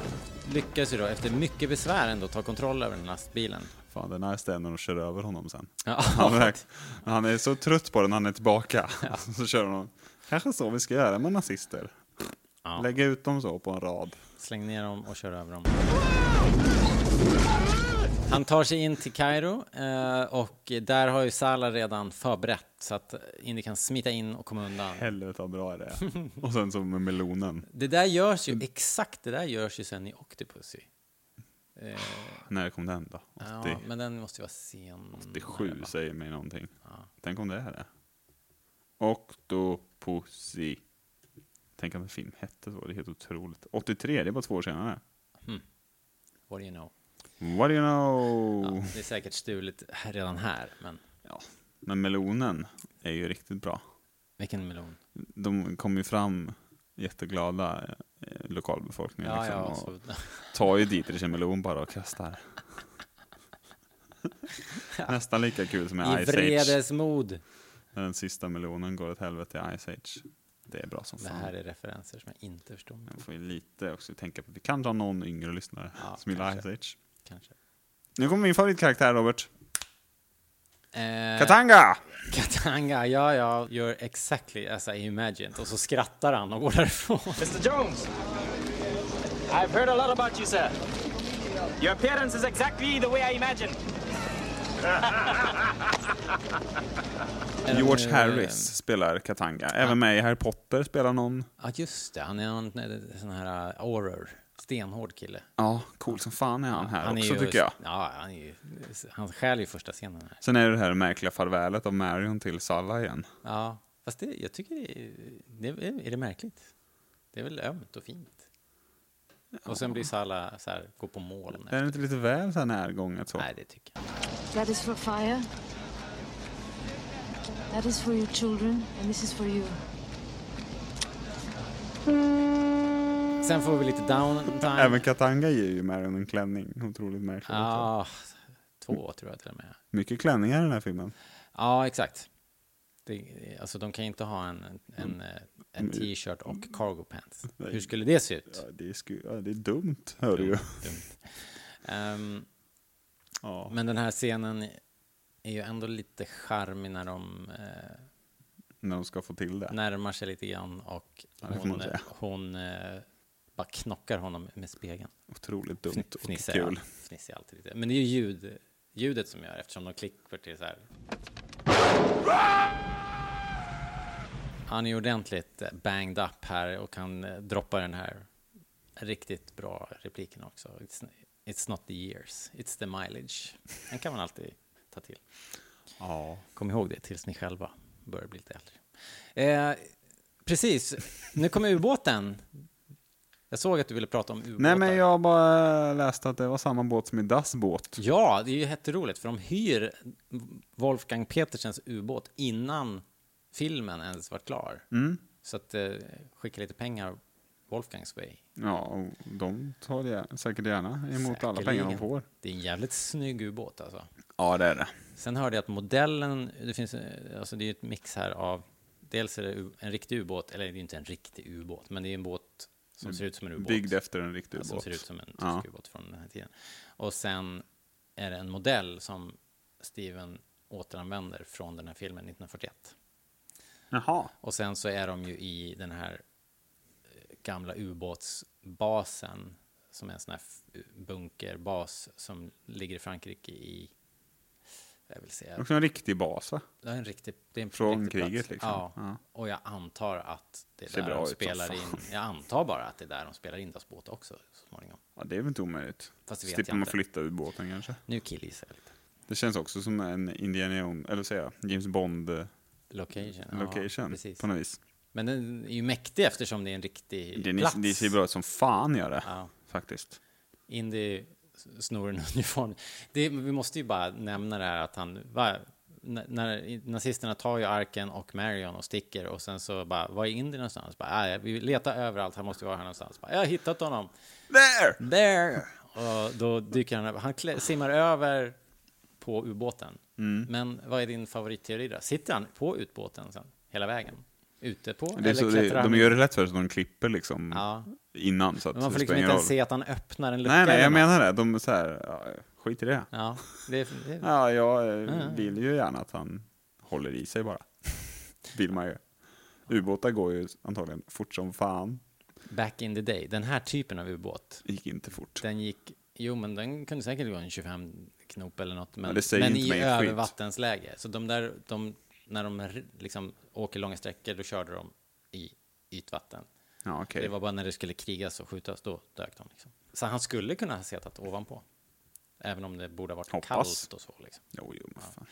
lyckas ju då efter mycket besvär ändå ta kontroll över den här lastbilen.
Fan den här ständen och kör över honom sen.
(laughs) Ja.
Han, verk- han är så trött på den när han är tillbaka. (laughs) Så kör han. Kanske så vi ska göra med nazister.
Ja.
Lägga ut dem så på en rad.
Släng ner dem och kör över dem. Han tar sig in till Kairo eh, och där har ju Salah redan förberett så att Indy kan smita in och komma undan.
Helvete vad bra det
(laughs)
är. Och sen så med melonen.
Det där görs ju, exakt det där görs ju sen i Octopussy.
När kom den då?
Ja,
80,
men den måste ju vara sen.
87 säger mig någonting. Tänk om det är det. Octopussy. Tänk om en film hette så. Det är helt otroligt. 83, det är bara två år senare.
What do you know?
What do you know?
Ja, det är säkert stulet här- redan här, men
Ja. Men melonen är ju riktigt bra.
Vilken melon.
De kommer ju fram jätteglada, eh, lokalbefolkningen
Ja,
liksom,
ja,
och
så,
tar ju dit det melon bara och
(laughs)
kastar. Nästan lika kul som med
I
Ice Age.
vredesmod.
När den sista melonen går åt helvete i Ice Age. Det är bra som
Det
fan.
här är referenser som jag inte förstår. mig
Man får ju lite också tänka på, vi kan dra någon yngre lyssnare
Ja,
som gillar Ice
kanske.
Age.
på, Kanske.
Nu kommer min favoritkaraktär Robert.
Eh,
Katanga!
Katanga, ja, ja, gör exactly as I imagined. Och så skrattar han och går därifrån.
Mr. Jones, I've heard a lot about you, sir. Your appearance is exactly the way I imagined.
George
Eh,
Harris spelar Katanga. Även med i Harry Potter spelar någon.
Ja, just det. Han är en en sån här eh, horror. Stenhård kille.
Ja, cool som fan är han här
är
också
ju,
tycker jag.
Ja, han, är ju, han stjäl ju första scenen här.
Sen är det det här märkliga farvälet av Marion till Salla igen.
Ja, fast det, jag tycker det är, det är, är det märkligt? Det är väl ömt och fint? Och sen blir Salla så här, gå på moln.
Är det inte lite väl så här närgånget så?
Nej, det tycker jag.
That is for fire. That is for your children, and this is for you.
Sen får vi lite downtime.
Även Katanga ger ju Marion en klänning. Otroligt märkligt. också.
Ja, två tror jag till och med.
Mycket klänningar i den här filmen.
Ja, exakt. Det, alltså de kan inte ha en, en, en, eh, en t-shirt och cargo pants.
Mm. (laughs) Nej.
Hur skulle det se ut?
Ja, det, är sku... ja, det är dumt, hör du ju.
Dumt. Ehm,
Ja.
men den här scenen är ju ändå lite charmig när de eh,
När de ska få till det.
närmar sig lite grann och
Ja, det får
hon,
man säga.
hon eh, bara knockar honom med spegeln.
Otroligt dumt
Fn-
och
fnissar
kul.
all- fnissar alltid lite. Men det är ju ljud, ljudet som gör eftersom de klipper till så här. Han är ju ordentligt eh, banged up här och kan eh, droppa den här riktigt bra repliken också. It's, it's not the years, it's the mileage. Den kan man alltid ta till.
Ja.
Kom ihåg det tills ni själva börjar bli lite äldre. Eh, precis, nu kommer ubåten. Jag såg att du ville prata om ubåtar.
Nej men jag bara läste att det var samma båt som i Das båt.
Ja, det är ju jätteroligt för de hyr Wolfgang Petersens ubåt innan filmen ens var klar.
Mm.
Så att eh, skicka lite pengar Wolfgangs way.
Ja, och de tar det säkert gärna emot alla pengar
Säkerligen.
de får.
Det är en jävligt snygg ubåt alltså.
Ja, det är det.
Sen hörde jag att modellen, det finns, eh, alltså det är ju ett mix här av, dels är det u- en riktig ubåt, eller det är ju inte en riktig ubåt, men det är en båt som ser ut som en ubåt.
Mm. Byggd efter en riktig
Ja,
ubåt.
Som ser ut som en tysk
Ja.
ubåt från den här tiden. Och sen är det en modell som Steven återanvänder från den här filmen 1941.
Jaha.
Och sen så är de ju i den här eh, gamla ubåtsbasen som är en sån här f- bunkerbas som ligger i Frankrike i, jag vill säga,
Också en riktig bas va?
det är en riktig, det är en
Från
riktig plats.
kriget, liksom.
Ja.
Ja.
och jag antar att det är
Ser
där
bra
de
ut alltså. som
spelar
fan.
in, jag antar bara att det är där de spelar in Das båt också så småningom.
Ja, det är väl inte omöjligt.
Fast det vet
Slipper
jag
man
inte.
flytta ubåten kanske.
Nu killgissar jag lite.
Det känns också som en Indiana Jones, eller säger jag, James Bond eh,
Location. ja,
location
precis.
på något vis.
Men den är ju mäktig eftersom det är en riktig
Det,
plats.
det ser bra ut som fan gör det,
Ja.
faktiskt.
Indy snor en (laughs) uniform. Det, men vi måste ju bara nämna det här att han... Va, när, när nazisterna tar ju arken och Marion och sticker och sen så bara, var är Indy någonstans? Bara, "Ah, vi letar överallt, han måste vara här någonstans. Bara, jag har hittat honom.
There!
There! Och då dyker han över. Han klä, simmar över på ubåten.
Mm.
Men vad är din favoritteori då? Sitter han på ubåten sen, hela vägen? Ute på?
Det är så, det, de gör det lätt för sig, de klipper liksom
Ja.
innan så att
Men man
det
får
spelar
liksom inte
ingen roll.
ens se att han öppnar en lucka.
Nej, nej,
eller
jag
något.
menar det. De är så här, ja, skit i det.
Ja, det, det,
Ja, jag eh, vill ju gärna att han håller i sig bara. (laughs) vill man ju. Ubåtar går ju antagligen fort som fan.
back in the day, den här typen av ubåt,
Gick inte fort.
den gick, jo men den kunde säkert gå en 25 knop eller något, men,
det säger
men
inte
i
mig ett skit.
övervattensläge. Så de där, de, när de r- liksom åker långa sträckor, då körde de i ytvatten.
Ja, okej.
Det var bara när det skulle krigas och skjutas, då dök de. Liksom. Så han skulle kunna ha setat ovanpå. Även om det borde ha varit
Hoppas.
kallt och så. Liksom.
Jo, jo, men fan.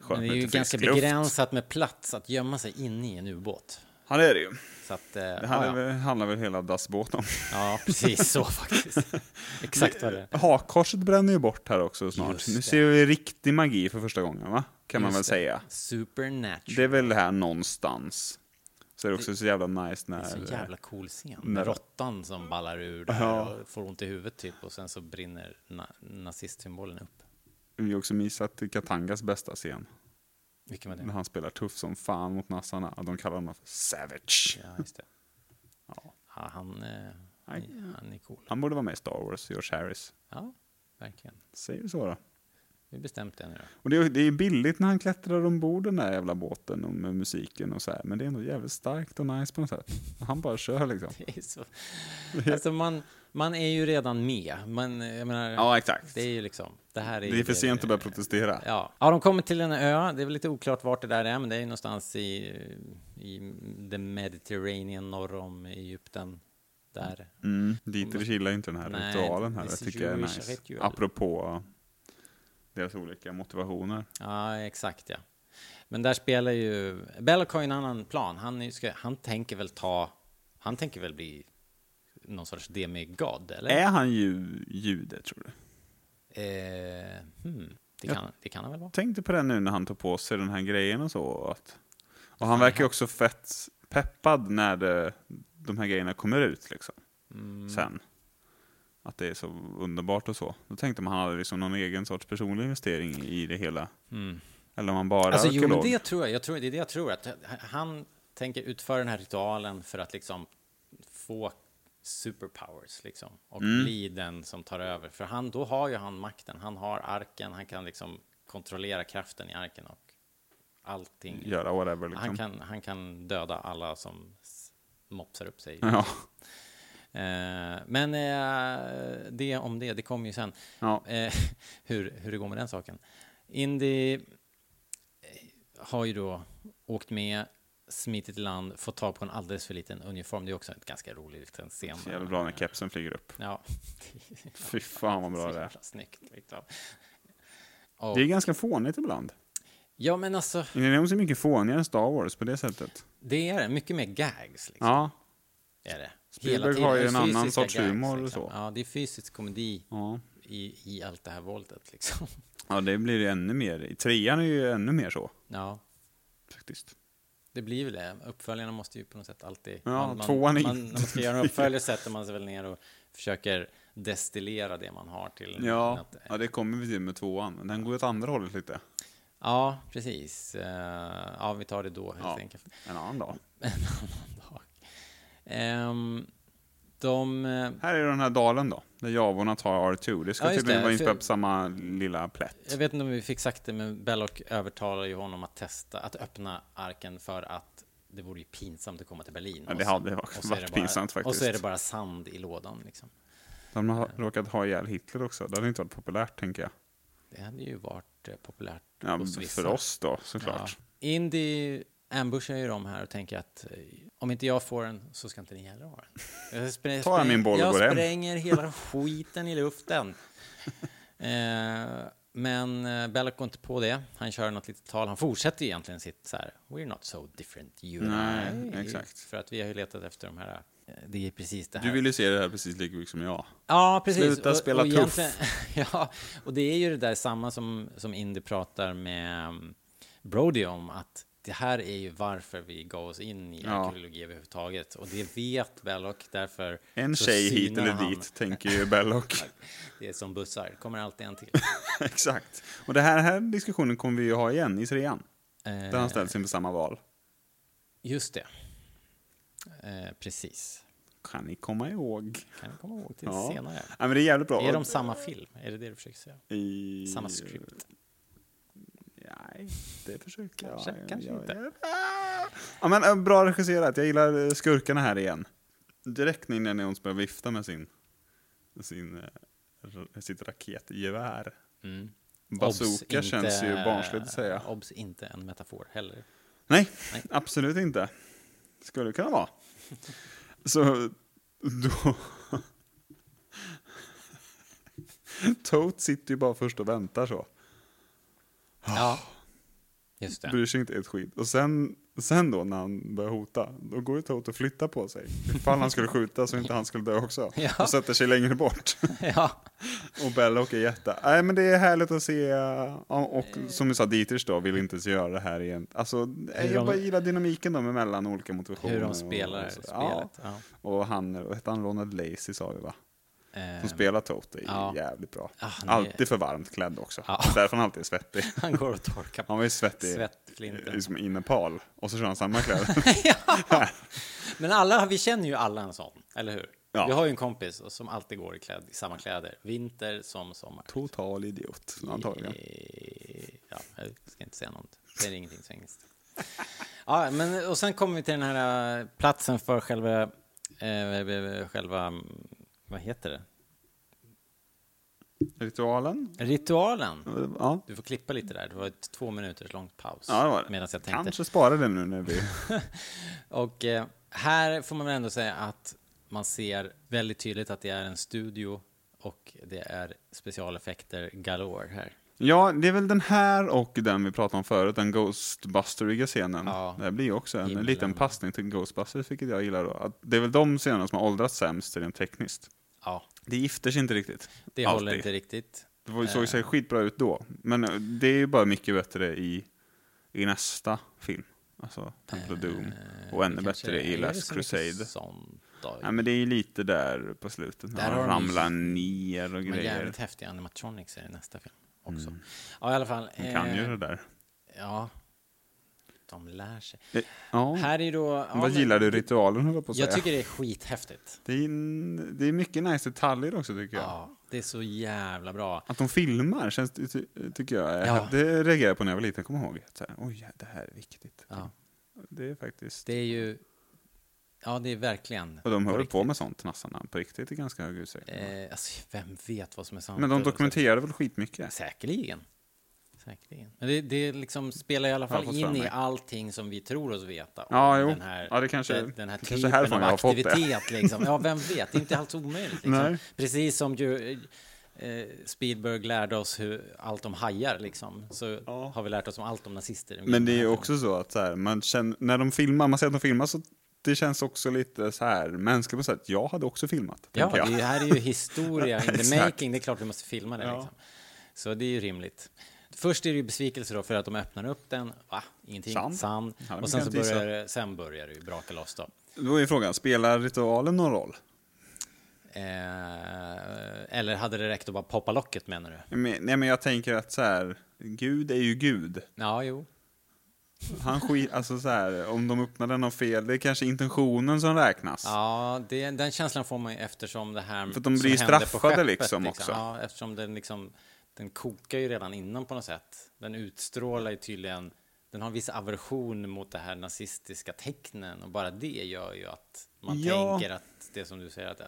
Skönt
Men det är
med
ju
lite
ganska
frisk luft.
begränsat med plats att gömma sig inne i en ubåt.
Ja, det är det ju.
Så att, eh,
Det
ja,
här
ja.
är väl- handlar väl hela dassbåten om.
Ja, precis
(laughs)
så faktiskt. Exakt vad det är.
Hakkorset bränner ju bort här också snart.
Just
nu
det.
ser vi riktig magi för första gången, va? kan man
Just
väl
det.
säga.
Supernatural.
Det är väl här någonstans. Så är det också så jävla nice när...
Det är en så jävla cool scen.
Nej.
Med råttan som ballar ur där
Ja.
och får ont i huvudet typ och sen så brinner na- nazistsymbolen upp.
eh, Vi har också missat Katangas bästa scen.
Vilken var
När
det?
han spelar tuff som fan mot nassarna. De kallar honom för Savage.
Ja, just det. Ja, han, eh,
Aj.
han är cool.
Han borde vara med i Star Wars, George Harris.
Ja, verkligen.
Säger du så då?
Vi bestämt det nu då. (laughs)
Och det är, det är billigt när han klättrar ombord den där jävla båten och med musiken och så här. Men det är ändå jävligt starkt och nice på något sätt. Han bara kör liksom.
Det är så... Alltså man, man är ju redan med. Man, jag menar,
Ja, exakt.
det är ju liksom... Det, här är
Det är för sent att börja protestera.
Ja. ja, de kommer till en ö. Det är väl lite oklart vart det där är, men det är ju någonstans i, i the Mediterranean norr om Egypten. Där.
Mm, dit killar ju inte den här
Nej,
ritualen heller,
this
tycker jag är
Jewish
nice.
ritual.
Apropå deras olika motivationer.
Ja, exakt ja. Men där spelar ju... Belloc har ju en annan plan. Han, är, ju- ska, han tänker väl ta... Han tänker väl bli någon sorts demigod, eller?
Är han ju jude, tror du?
Eh, hmm. det,
Ja.
kan, det kan han väl vara?
Tänkte på det nu när han tog på sig den här grejen och så. och Att, och han verkar ju också fett peppad när det, de här grejerna kommer ut liksom.
Mm.
Sen. Att det är så underbart och så. Då tänkte man han hade liksom någon egen sorts personlig investering i det hela. Eller om han bara
Mm. Alltså,
är
jo, men
arkeolog.
det tror jag. jag tror, det är det jag tror. Att han tänker utföra den här ritualen för att liksom få superpowers liksom, och bli den som tar över. För han, då har ju han makten. Han har arken, han kan liksom kontrollera kraften i arken och allting.
Göra whatever
Han,
liksom.
kan, han kan döda alla som s- mopsar upp sig.
Ja.
Eh, men eh, det om det, det kommer ju sen.
Ja.
Eh, (laughs) hur, hur det går med den saken. Indy eh, har ju då åkt med, smitit i land, fått tag på en alldeles för liten uniform. Det är också en ganska rolig liten scen.
Så jävla bra när kepsen flyger upp.
Ja. (laughs)
Fy fan vad bra
Så
det är.
jävla Snyggt liksom. Och,
Det är ganska fånigt ibland.
ja men alltså,
Indiana Jones är mycket fånigare än Star Wars på det sättet.
det är det. Mycket mer gags liksom.
Ja,
Är det.
Spielberg
Hela tiden.
har ju
Det är
en annan
fysiska liksom.
sorts humor och så.
Ja, det är fysisk komedi
ja.
i, i allt det här våldet liksom. (laughs)
ja det blir ju ännu mer. I trean är ju ännu mer så.
Ja.
Faktiskt.
Det blir väl det. Uppföljarna måste ju på något sätt alltid...
Ja,
man,
tvåan är
man, man,
inte
När man ska göra en uppföljare sätter man sig väl ner och försöker destillera det man har till...
Ja,
att-
ja, det kommer vi till med tvåan. men Den går åt andra hållet lite.
ja, precis. Eh, Ja, vi tar det då helt
Ja.
enkelt. (laughs)
En annan dag.
En annan dag. Ehm, de... eh,
Här är den här dalen då, där javorna tar R2. Det ska
Ja, just
tydligen
det,
vara inspelat
för-
på samma lilla plätt.
Jag vet inte om vi fick sagt det, men Belloc övertalar ju honom att testa, att öppna arken för att det vore ju pinsamt att komma till Berlin.
Ja,
Och
det
så-
hade ju
och så är
varit
det bara-
pinsamt
Och så är det
faktiskt.
bara sand i lådan liksom.
De har råkat ha ihjäl Hitler också. Det hade inte varit populärt, tänker jag.
Det hade ju varit eh, populärt
Ja,
hos vissa.
för oss då, såklart.
Ja. Indy ambushar ju dem här och tänker att eh, om inte jag får den så ska inte ni heller ha
(laughs)
den. Jag spräng,
Tar jag min boll och
jag
går hem. (laughs)
spränger hela skiten i luften. Eh, men eh, Belloc går inte på det. Han kör något litet tal. Han fortsätter ju egentligen sitt så här, we're not so different you and
Nej,
I."
exakt.
För att vi har ju letat efter de här, eh, det är precis det här.
Du vill ju se det här precis lika mycket som jag.
Ja, precis.
Sluta spela tuff.
egentligen- (laughs) ja, och det är ju det där samma som, som Indy pratar med um, Brody om, att det här är ju varför vi gav oss in i
Ja.
arkeologi överhuvudtaget. Och det vet Belloc, därför
En
så
tjej hit
synar
eller
han-
dit, tänker ju
(laughs)
Belloc.
Det är som bussar, det kommer alltid en till.
(laughs) Exakt. Och det här, här diskussionen kommer vi ju ha igen i trean. Där han
Eh,
ställs inför samma val.
just det. Eh, precis.
Kan ni komma ihåg?
Kan jag komma ihåg till
Ja.
senare.
Ja, men det är jävligt bra.
Är de samma film? Är det det du försöker säga?
I...
Samma script?
Nej, det försöker
Kanske,
jag.
kanske
jag,
inte.
Jag, ja, men, eh, bra regisserat. Jag gillar eh, skurkarna här igen. Direkt när Indiana Jones börjar vifta med sin, sin, eh, ra- sitt raketgevär.
Mm. Obs,
Bazooka
inte-
känns ju barnsligt att säga.
Obs, inte en metafor heller.
Nej,
Nej.
absolut inte. Skulle det kunna vara. Så då... Toad sitter ju bara först och väntar så.
Ja, just det.
Bryr sig inte ett skit. Och sen, sen då när han börjar hota, då går ju Toad och flyttar på sig. Ifall han skulle skjuta så inte han skulle dö också.
(laughs) Ja.
Och sätter sig längre bort.
ja.
Och Belloc är jätte... Nej men det är härligt att se. eh, ja, Och som du sa, Dieters då vill inte ens göra det här igen. Alltså,
Eh. Hur
jag
de-
bara gillar dynamiken de mellan olika motivationer.
Hur de
och-
spelar
och så.
spelet.
Ja.
Ja.
Och han, vad hette han, Ronald Lacey sa vi va?
Ehm,
Som spelar Tote är
ja.
jävligt bra.
Ah, han är-
Alltid för varmt klädd också.
Ja.
Därför han alltid är svettig.
Han går och torkar
Han var ju svettig
svettflinten. (laughs)
liksom i Nepal. Och så kör han samma kläder.
Men alla, vi känner ju alla en sån, eller hur?
Ja.
Vi har ju en kompis som alltid går i, kläd, i samma kläder, vinter som sommar.
Total idiot antagligen.
Eh, Ja, jag ska inte säga något. Det är ingenting så engelskt. Ja, men och sen kommer vi till den här eh, platsen för själva, eh, själva, mm, vad heter det?
Ritualen?
Ritualen.
Ja.
Du får klippa lite där, det var ett två minuters lång paus.
Ja, det var det.
Medan jag tänkte.
Kanske spara den nu när vi...
Och eh, här får man väl ändå säga att man ser väldigt tydligt att det är en studio och det är specialeffekter galore här.
Ja, det är väl den här och den vi pratade om förut, den Ghostbusteriga scenen.
Ja.
Det blir ju också en
Himlen.
liten passning till Ghostbusters, vilket jag gillar. Då. Att det är väl de scenerna som har åldrats sämst rent tekniskt.
Ja,
Det gifter sig inte riktigt.
det
Alltid.
håller inte riktigt. Eh.
Det var- såg sig skitbra ut då, men eh, det är ju bara mycket bättre i, i nästa film. Alltså Temple of Doom. Och ännu
Eh, Det kanske
bättre i
är
Last
så mycket
Crusade.
Sånt då.
Ja, men det är ju lite där på slutet,
Där
när han
har de
ramlar ner och
Men
grejer.
jävligt häftiga animatronics är i nästa film också. Ja, i alla fall.
Han kan ju
eh,
det där.
Ja. De lär sig.
Eh, Ja.
Här är då... Ja,
Vad
men-
gillar du ritualen höll jag på att
Jag
säga.
tycker det är skithäftigt.
Det är, en- det är mycket nice detaljer också tycker jag.
Ja, det är så jävla bra.
Att de filmar känns, det- ty, tycker jag, är-
Ja.
det reagerade jag på när jag var liten, kommer ihåg. Att så här, Oj, det här är viktigt.
Ja.
Det är faktiskt...
Det är ju... Ja, det är verkligen...
och de
på
höll
riktigt.
på med sånt, tnassarna, på riktigt i ganska hög utsträckning.
Eh, alltså, vem vet vad som är sant?
Men de
och-
dokumenterade väl skitmycket?
Säkerligen. Säkerligen. Men det, det liksom spelar i alla fall
fått
in
för
i
mig.
allting som vi tror oss veta. om
Ja, jo.
Den här,
Ja, det kanske-
den, den här
det kanske
typen
härifrån
av
jag har fått det.
aktivitet. Liksom. Ja, vem vet? Det är inte alls omöjligt. Liksom.
Nej.
Precis som ju, eh, Spielberg lärde oss hur, allt om hajar, liksom, så har vi lärt oss om allt om nazister.
Men det är ju också så att så här, man känner, när de filmar, man ser att de filmar så det känns också lite så här mänskligt på sätt. Jag hade också filmat.
Ja,
tänker jag.
det här är
(laughs)
ju historia in the
Exakt.
making. Det är klart vi måste filma det. Liksom. Så det är ju rimligt. Först är det ju besvikelse då för att de öppnar upp den. Va? Ingenting. Sand.
Sand. Ja, men
Och sen,
kan
så
jag inte
börjar, det- sen börjar det ju braka loss då.
Då är frågan, spelar ritualen någon roll?
Eh, eller hade det räckt att bara poppa locket menar du?
Jag men- Nej men jag tänker att så här, Gud är ju Gud.
Ja, jo.
Han skit, alltså så här, om de öppnar den av fel, det är kanske intentionen som räknas.
Ja, det, den känslan får man ju eftersom det här
För att de
som
blir ju
hände på
straffade liksom också.
Ja, eftersom den liksom, den kokar ju redan innan på något sätt. Den utstrålar ju tydligen, den har en viss aversion mot det här nazistiska tecknen och bara det gör ju att man
Ja.
tänker att det som du säger att,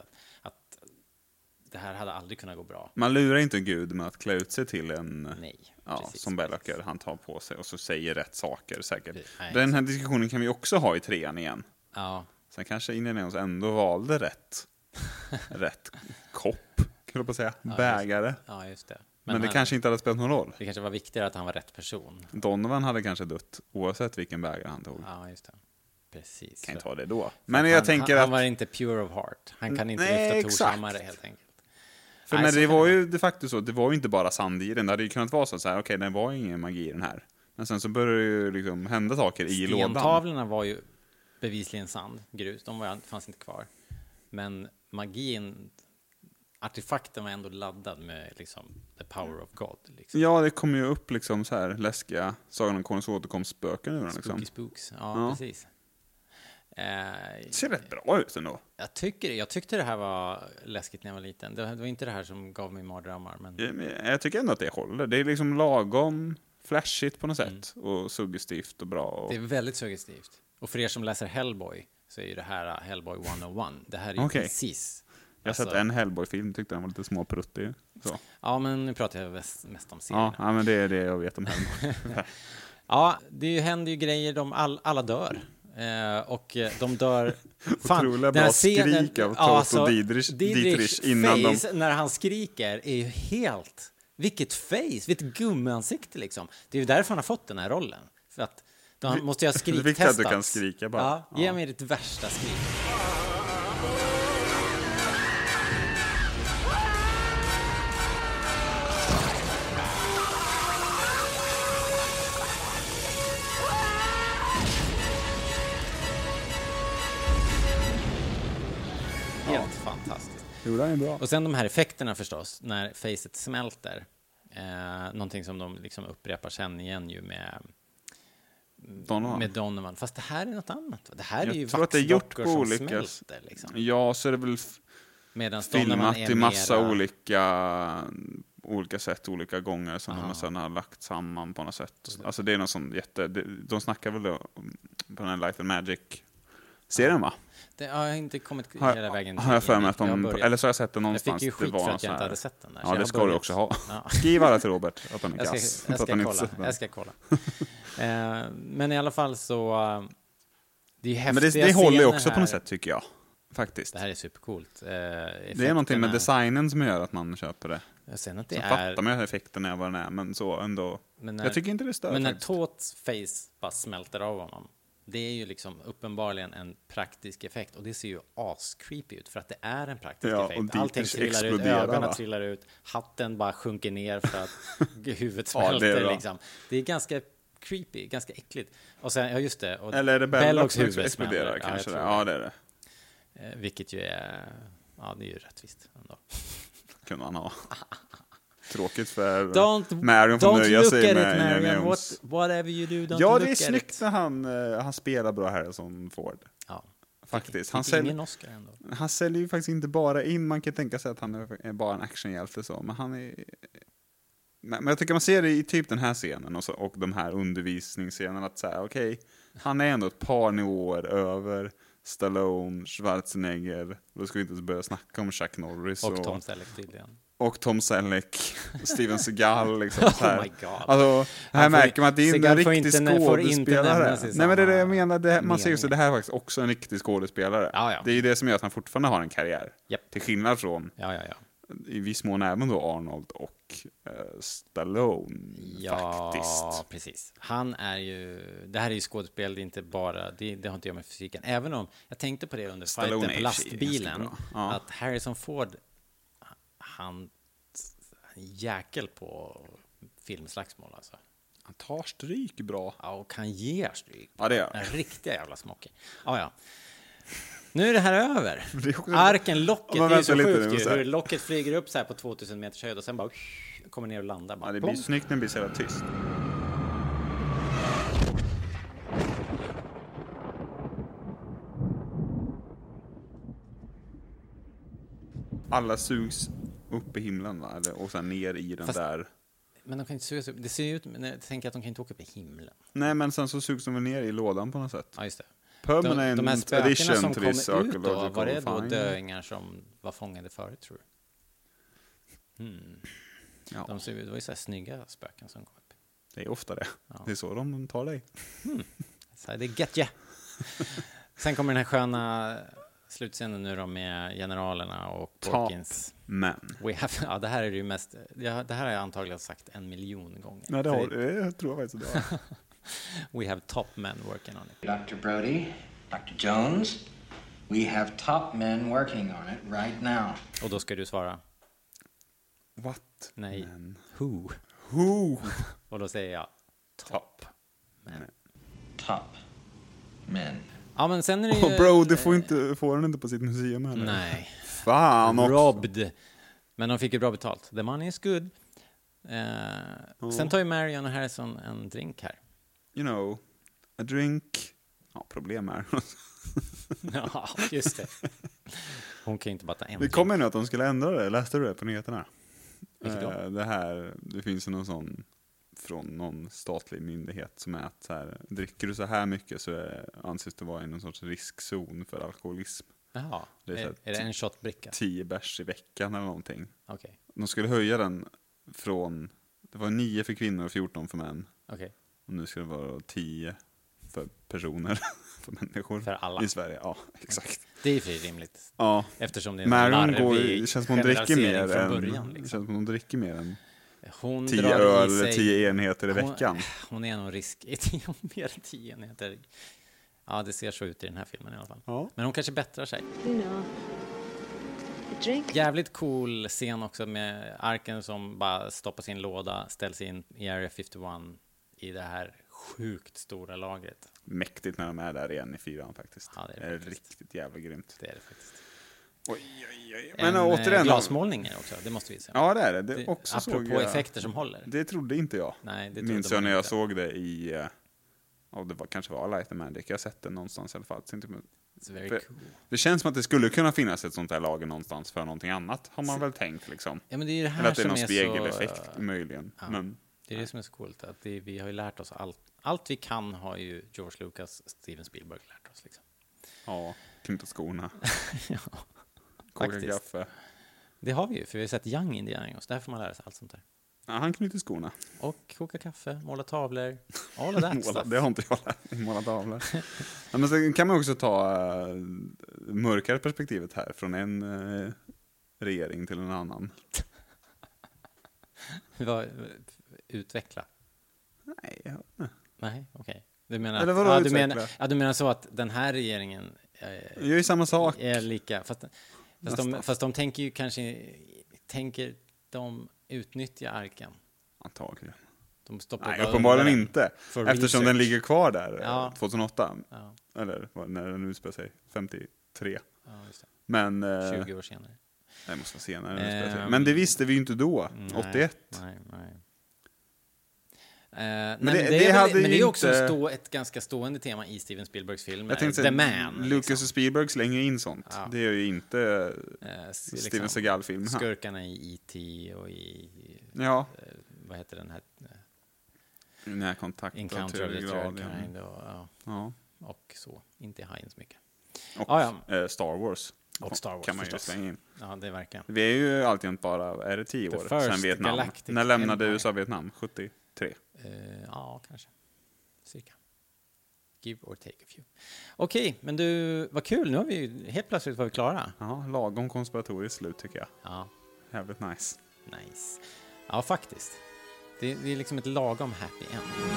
att det här hade aldrig kunnat gå bra.
Man lurar inte Gud med att klä ut sig till en,
Nej,
ja,
precis.
som Belloc gör, han tar på sig och så säger rätt saker säkert.
Nej,
den här diskussionen kan vi också ha i trean igen.
Ja,
Sen kanske Indianeos ändå valde
(laughs)
rätt, rätt kopp, kan jag på att säga, bägare.
ja just det.
Men, det
han-
kanske inte hade spelat någon roll.
det kanske var viktigare att han var rätt person.
Donovan hade kanske dött oavsett vilken bägare han tog.
Ja, just det. Precis.
Kan ju
Så-
ta det då. Men jag
han,
tänker
han,
att...
han var inte pure of heart. Han kan inte
Nej,
lyfta Tors
exakt.
hammare helt enkelt.
För
Nej,
men
så
det
kan
var
det
ju de facto så, det var ju inte bara sand i den. Det hade ju kunnat vara så att, okej, det var ingen magi i den här. Men sen så började det ju liksom hända saker i lådan.
Stentavlorna var ju bevisligen sand, grus, de var, fanns inte kvar. Men magin, artefakten var ändå laddad med liksom the power of God. Liksom.
Ja, det kom ju upp liksom så här läskiga Sagan om Konungens återkomst-spöken ur den liksom.
Spooky spooks, ja,
Ja.
precis. Eh,
Det ser rätt bra ut ändå.
jag, tycker, jag tyckte det här var läskigt när jag var liten. Det, det var inte det här som gav mig mardrömmar, men
Jag- men Jag tycker ändå att det håller. Det är liksom lagom flashigt på något sätt. Och suggestivt och bra. Och...
Mm. det är väldigt suggestivt. Och för er som läser Hellboy så är ju det här eh, Hellboy 101. Det här är ju
Okej.
precis...
Jag har sett
alltså-
en Hellboy-film, tyckte den var lite småpruttig. Så.
Ja, men nu pratar jag mest, mest om serien.
Ja, ja, men det är det jag vet om
(laughs)
Hellboy.
Ja, det ju- händer ju grejer, de all, alla dör. Eh, och eh,
(laughs)
de dör... Fan,
Otroliga
den här alltså,
bra skrik av Toto Dietrich- Dietrich innan de-
face när han skriker är ju helt... Vilket face, vilket gummiansikte liksom. Det är ju därför han har fått den här rollen. För att de måste ju ha
(laughs) det är viktigt att
skriktestats.
du kan skrika bara.
Ja, ge
Ja.
mig ditt värsta skrik.
Jo, den är bra.
Och sen de här effekterna förstås, när facet smälter. Eh, någonting som de liksom upprepar sen igen ju med
Donovan.
med Donovan. Fast det här är något annat. va? Det här är
Jag
ju
tror att det är gjort
vaxdockor
på
som
olika...
smälter. Liksom.
Ja, så är det väl f-
Medan Donovan
filmat
är
i massa
mera-
olika, olika sätt, olika gånger som
Aha.
de sen har lagt samman på något sätt. Alltså det är någon sån jätte... det- De snackar väl då om- på den här Life and Magic-serien va?
Det har jag inte kommit
Har,
hela vägen
har jag för mig att
Jag har
de...
börjat.
Eller så har jag sett den
Jag
någonstans.
fick ju skit
det var
för
någon
att jag
sån
inte
här-
hade sett den. Där, så
Ja,
jag
det
har
ska du
börjat.
också ha.
Ja.
(laughs) Skriv alla till Robert att han är
Jag
kass.
ska, jag
för att
ska
han inte
kolla.
sett den.
Jag ska kolla. (laughs) Eh, men i alla fall så... eh, Det är ju
Men
häftiga
det, det håller ju
scener
också
här.
på något sätt tycker jag. Faktiskt.
Det här är supercoolt. Eh,
Det är någonting med
effekterna-
designen som gör att man köper det.
Sen att det
Sen
är...
fattar man ju effekterna av vad den är, men så ändå.
Men när-
jag tycker inte det stör
Men när
faktiskt.
Tauts face bara smälter av honom. Det är ju liksom uppenbarligen en praktisk effekt och det ser ju ascreepy ut för att det är en praktisk
Ja, och
effekt.
det
Allting trillar ut,
exploderar,
ögonen
va?
trillar ut, hatten bara sjunker ner för
(laughs)
att huvudet
Ja, det är
smälter
bra.
liksom. Det är ganska creepy, ganska äckligt. Och sen, ja just det. Och
Eller är det Bellox
Bellogs
som
huvud
exploderar
smäller. jag
kanske?
tror
det. Ja, det är det.
Eh, Vilket ju är, ja det är ju rättvist ändå.
Kunde
(laughs)
han ha. Tråkigt för
Don't,
Marion får
don't
nöja
look
sig
at
med
it
Indiana
Marion,
Jones.
What, whatever you do, don't
Ja,
look
det är
at it.
snyggt när han, eh, han spelar bra här som Ford.
Ja.
Faktiskt.
Han
Han,
fick
sälj,
ingen Oscar ändå.
han säljer ju faktiskt inte bara in. Man kan tänka sig att han är är bara en actionhjälte så, men han är... Men men jag tycker man ser det i typ den här scenen och, så, och de här undervisningsscenerna att säga okej, han är ändå ett par nivåer över Stallone, Schwarzenegger, då ska vi inte ens börja snacka om Chuck Norris
Och Tom Selleck tydligen.
och Tom Selleck, Steven Seagal
(laughs)
liksom. så här.
Oh my God.
Alltså, här
Han får-
märker man att det är inte en
Seagal får
riktig
inte- får inte
skådespelare.
nämnas i
Nej men det är det jag
samma
menar, det, man ser ju så
mening.
det här är faktiskt också en riktig skådespelare.
Ja, ja.
Det är ju det som gör att han fortfarande har en karriär.
Japp.
Till skillnad från,
Ja, ja, ja.
i viss mån även då Arnold och eh, Stallone
Ja,
faktiskt.
precis. Han är ju... Det här är ju skådespel, det är inte bara... Det, det har inte att göra med fysiken. Även om... Jag tänkte på det under
Stallone är
fighten på
i och för sig
lastbilen.
ganska bra. Ja.
Att Harrison Ford, han... han är jäkel på filmslagsmål alltså.
Han tar stryk bra.
Ja, och kan ge stryk.
Ja, det gör han.
Den riktiga jävla smocken. Ja, ja. Nu är det här över.
(laughs) Det är också-
Arken, locket,
Ja, men
det är ju så
vänta lite nu,
sjukt
så
ju.
här.
Hur locket flyger upp så här på 2000 meters höjd och sen bara kommer ner och landar. Bara,
Ja, det blir
plong.
snyggt när det blir så jävla tyst. Alla sugs upp i himlen va? Eller, och sen ner i den
Fast-
där.
Men de kan inte sugas upp. Det ser ju ut, men jag tänker att de kan inte åka upp i himlen.
Nej men sen så sugs de väl ner i lådan på något sätt.
Ja, just det.
Permanent
de, de här spökena som
addition to this
kommer ut då,
archaeological
var det då
find.
döingar som var fångade förut tror du?
Ja,
De ser, ju- det var ju så här snygga spöken som kom upp.
det är ofta det. Det är så de tar dig.
Så här, det är gött ja. (laughs) Sen kommer den här sköna slutscenen nu då med generalerna och
Top.
Porkins.
Men.
We have, (laughs) ja, det här är det ju mest, det har det här har jag antagligen sagt en miljon gånger.
Nej det
För
har, jag tror jag faktiskt det har.
We have top men working on it.
Dr. Brody, Dr. Jones, we have top men working on it right now.
Och då ska du svara (laughs)
What?
nej, who?
Who?
Och då säger jag
Top.
Top men.
Ja, men sen är det
(laughs) Och
ju...
bro, det får, inte, får han inte på sitt museum heller.
Nej.
Fan också.
Robbed. Men de fick ju bra betalt. The money is good. Eh, Sen tar ju Marion och Harrison en drink här. (laughs)
You know, a drink. Ja, problem är.
ja, just det. Hon kan ju inte bara ta
(laughs)
en
det
drink.
kommer nu att de skulle ändra det. Läste du det på nyheterna?
Vilket då?
Eh, Det här, det finns ju någon sån från någon statlig myndighet som är att så här, dricker du så här mycket så är, anses det vara i någon sorts riskzon för alkoholism.
Jaha,
Det är
är,
så
är
här typ-
det en shotbricka?
10 bärs i veckan eller någonting.
Okej,
De skulle höja den från, det var 9 för kvinnor och 14 för män.
okej.
Och nu ska det vara 10 för personer, (laughs) för människor.
För alla.
I Sverige, ja exakt.
Det är ju för rimligt.
Ja.
Eftersom det är en
Marion
larvig
går, ju- känns som hon dricker
generalisering
mer
från
än,
början.
känns
Liksom.
som hon dricker mer än
Hon
10
drar i
öl eller
sig-
10 enheter i veckan.
(laughs) Hon, hon är nog riskig. Hon är mer än (laughs) tio enheter. Ja, det ser så ut i den här filmen i alla fall.
Ja.
Men hon kanske bättrar sig.
You know, a drink.
Jävligt cool scen också med arken som bara stoppar sin låda, ställs in i Area 51 i det här sjukt stora lagret.
Mäktigt när de är där igen i fyran faktiskt.
Ja, det är det
det är
faktiskt.
riktigt jävla grymt.
Det är det faktiskt.
Men
en eh,
återigen,
glasmålning är det också, det måste vi säga.
Ja, det är det. Det också
apropå
såg jag.
effekter som håller.
Det trodde inte jag.
Nej, det
Minns
trodde
jag
man
när jag
inte.
såg det i... eh, Ja, det var, kanske var Light and Magic. Jag har sett det någonstans i alla fall. Så inte-
It's very
för-
cool.
Det känns som att det skulle kunna finnas ett sånt här lager någonstans för någonting annat, har man väl tänkt liksom.
Ja, men det är ju det här
Eller att det är
som
någon
är så-
spegeleffekt möjligen.
Ja.
Men
Det är det som är så coolt, att det, vi har ju lärt oss allt. Allt vi kan har ju George Lucas, Steven Spielberg lärt
(laughs)
oss. Liksom.
ja, knyta
(laughs)
skorna,
ja,
koka
faktiskt.
kaffe.
Det har vi ju, för vi har sett Young Indiana Jones. Där får man lära sig allt sånt där.
Ja, han knyter skorna.
Och koka kaffe, måla tavlor, all of
(laughs)
that
Måla,
stuff.
det har inte jag lärt mig, måla tavlor. ja, men sen kan man också ta eh, mörkare perspektivet här, från en eh, regering till en annan.
Vad- Utveckla.
Nej, jag-
Nej, okej. Du menar,
Eller
att-
vadå
ja, du
utveckla?
menar, ja, du menar så att den här regeringen eh,
jag gör ju samma sak.
är lika, fast, fast, de,
Nästan.
fast de tänker ju kanske, tänker de utnyttja arken?
Antagligen.
De stoppar
Nej,
bara
uppenbarligen
undan den.
inte.
För
Eftersom den
research.
ligger kvar där, eh,
Ja.
2008.
Ja,
Eller vad- när den utspelar sig, 53.
ja, just det.
Men... eh,
20 år senare.
Nej, det måste vara senare. den utspelar sig.
Ehm,
Men det visste vi ju inte då,
Nej,
81.
Nej, nej. Eh, nej,
det-
men det, är
det
väl-
hade
men
ju
det är också
inte-
stå, ett ganska stående tema i Steven Spielbergs film, eh,
Jag tänkte
The
säga,
Man. liksom.
Lucas och Spielberg slänger in sånt.
Ja.
Det är ju inte eh,
Eh, s-
Steven Seagal-film. här.
Skurkarna i E.T. och i,
Ja,
eh, vad heter den här, eh,
närkontakt
Encounter of the Third Kind och, ja,
Ja.
och så. Inte i Hajen så mycket.
Och
Ah, Ja,
eh, Star Wars.
Och Star Wars
kan man ju
förstås.
slänga in.
Ja, det verkar.
Vi är ju alltid bara, är det tio
The
år
First
sedan Vietnam?
Galactic
När lämnade
Empire.
USA Vietnam? 73?
Eh, ja, kanske. Cirka. Give or take a few. Okej, men du, vad kul. Nu har vi ju- helt plötsligt var vi klara.
Ja, lagom konspiratoriskt slut tycker jag.
Ja,
Jävligt nice.
nice. Ja, faktiskt. Det, det är liksom ett lagom happy end.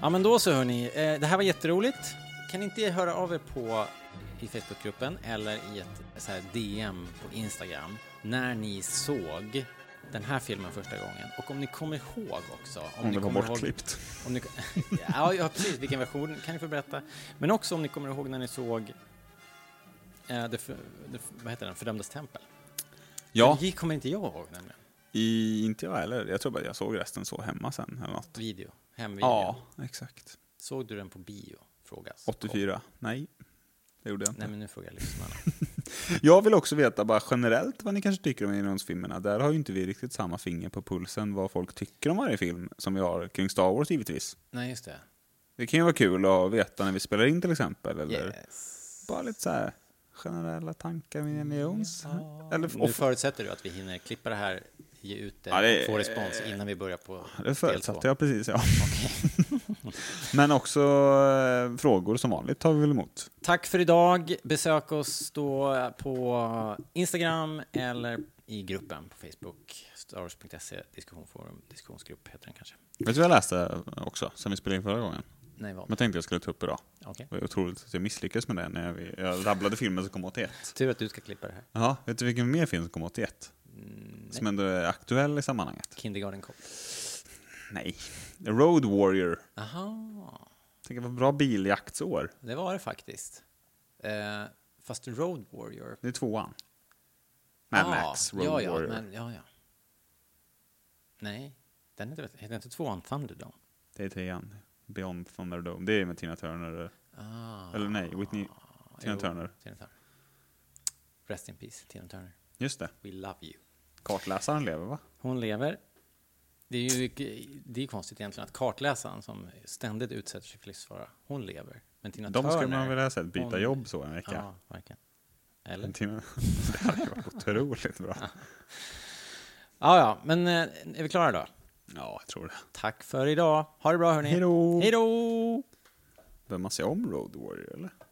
Ja, men då så hörni. Eh, Det här var jätteroligt. Kan inte höra av er på i Facebookgruppen eller i ett så här DM på Instagram när ni såg den här filmen första gången och om ni kommer ihåg också.
Om
ni
det var
kommer ihåg-
bortklippt.
om ni, (laughs) ja, ja, precis. Vilken version kan ni få berätta? Men också om ni kommer ihåg när ni såg eh, det, för, det, vad heter den? Fördömdes tempel.
Ja,
Det kommer inte jag ihåg nämligen.
i, inte jag heller. Jag tror bara jag såg resten så hemma sen eller något.
Video. Hemvideo.
Ja, exakt.
Såg du den på bio? Frågas.
84? Nej, det gjorde jag inte.
Nej, men nu frågar
(laughs)
jag lyssnarna.
Jag vill också veta bara generellt vad ni kanske tycker om Indiansfilmerna. Där har ju inte vi riktigt samma finger på pulsen vad folk tycker om varje film som vi har kring Star Wars givetvis.
Nej, just det.
Det kan ju vara kul att veta när vi spelar in till exempel, eller
Yes.
bara lite så här generella tankar om Indiana Jones. Eller,
Nu
och,
förutsätter du att vi hinner klippa det här, ge ut det,
Ja, det-
och få respons innan vi börjar på
det förutsatte
del
jag precis, ja. (laughs) Men också eh, frågor som vanligt tar vi väl emot.
två. Tack för idag. Besök oss då på Instagram eller i gruppen på Facebook. Starwars.se diskussionforum, diskussionsgrupp heter den kanske.
Vet du vad jag läste också, som vi spelade in förra gången?
Nej, vad?
Jag tänkte jag skulle ta upp idag.
Okej.
Det var otroligt att jag misslyckades med det när vi- jag rabblade filmen som kom 81.
Tur att du ska klippa det här.
Ja, vet du vilken mer film som kom 81?
Mm,
som ändå är aktuell i sammanhanget?
Kindergarten Cop.
Nej. Road Warrior.
Aha,
Tänk vad bra biljaktsår.
det var det faktiskt. Eh, fast Road Warrior.
Det är tvåan. Mad
Ah,
Max, Road
ja, ja,
Warrior.
Men, ja, ja. Nej, den heter, heter inte tvåan Thunderdome?
Det är trean. Beyond Thunderdome. Det är med Tina Turner.
Ah,
Eller nej, Whitney. Tina
jo,
Turner.
Tina Turner. Rest in peace, Tina Turner.
Just det.
We love you.
Kartläsaren lever va?
Hon lever. Det är ju det är konstigt egentligen att kartläsaren som ständigt utsätter sig för livsfara, hon lever. Men Tina
De
Turner...
skulle man väl ha sett byta
hon-
jobb så en vecka.
Ja, verkligen. Eller?
Tina... (laughs) det hade ju varit otroligt bra.
Ja, ja, men eh, är vi klara då?
Ja, jag tror det.
Tack för idag. Ha det bra hörni.
Hej då.
Hej då!
Behöver man se om Road Warrior eller?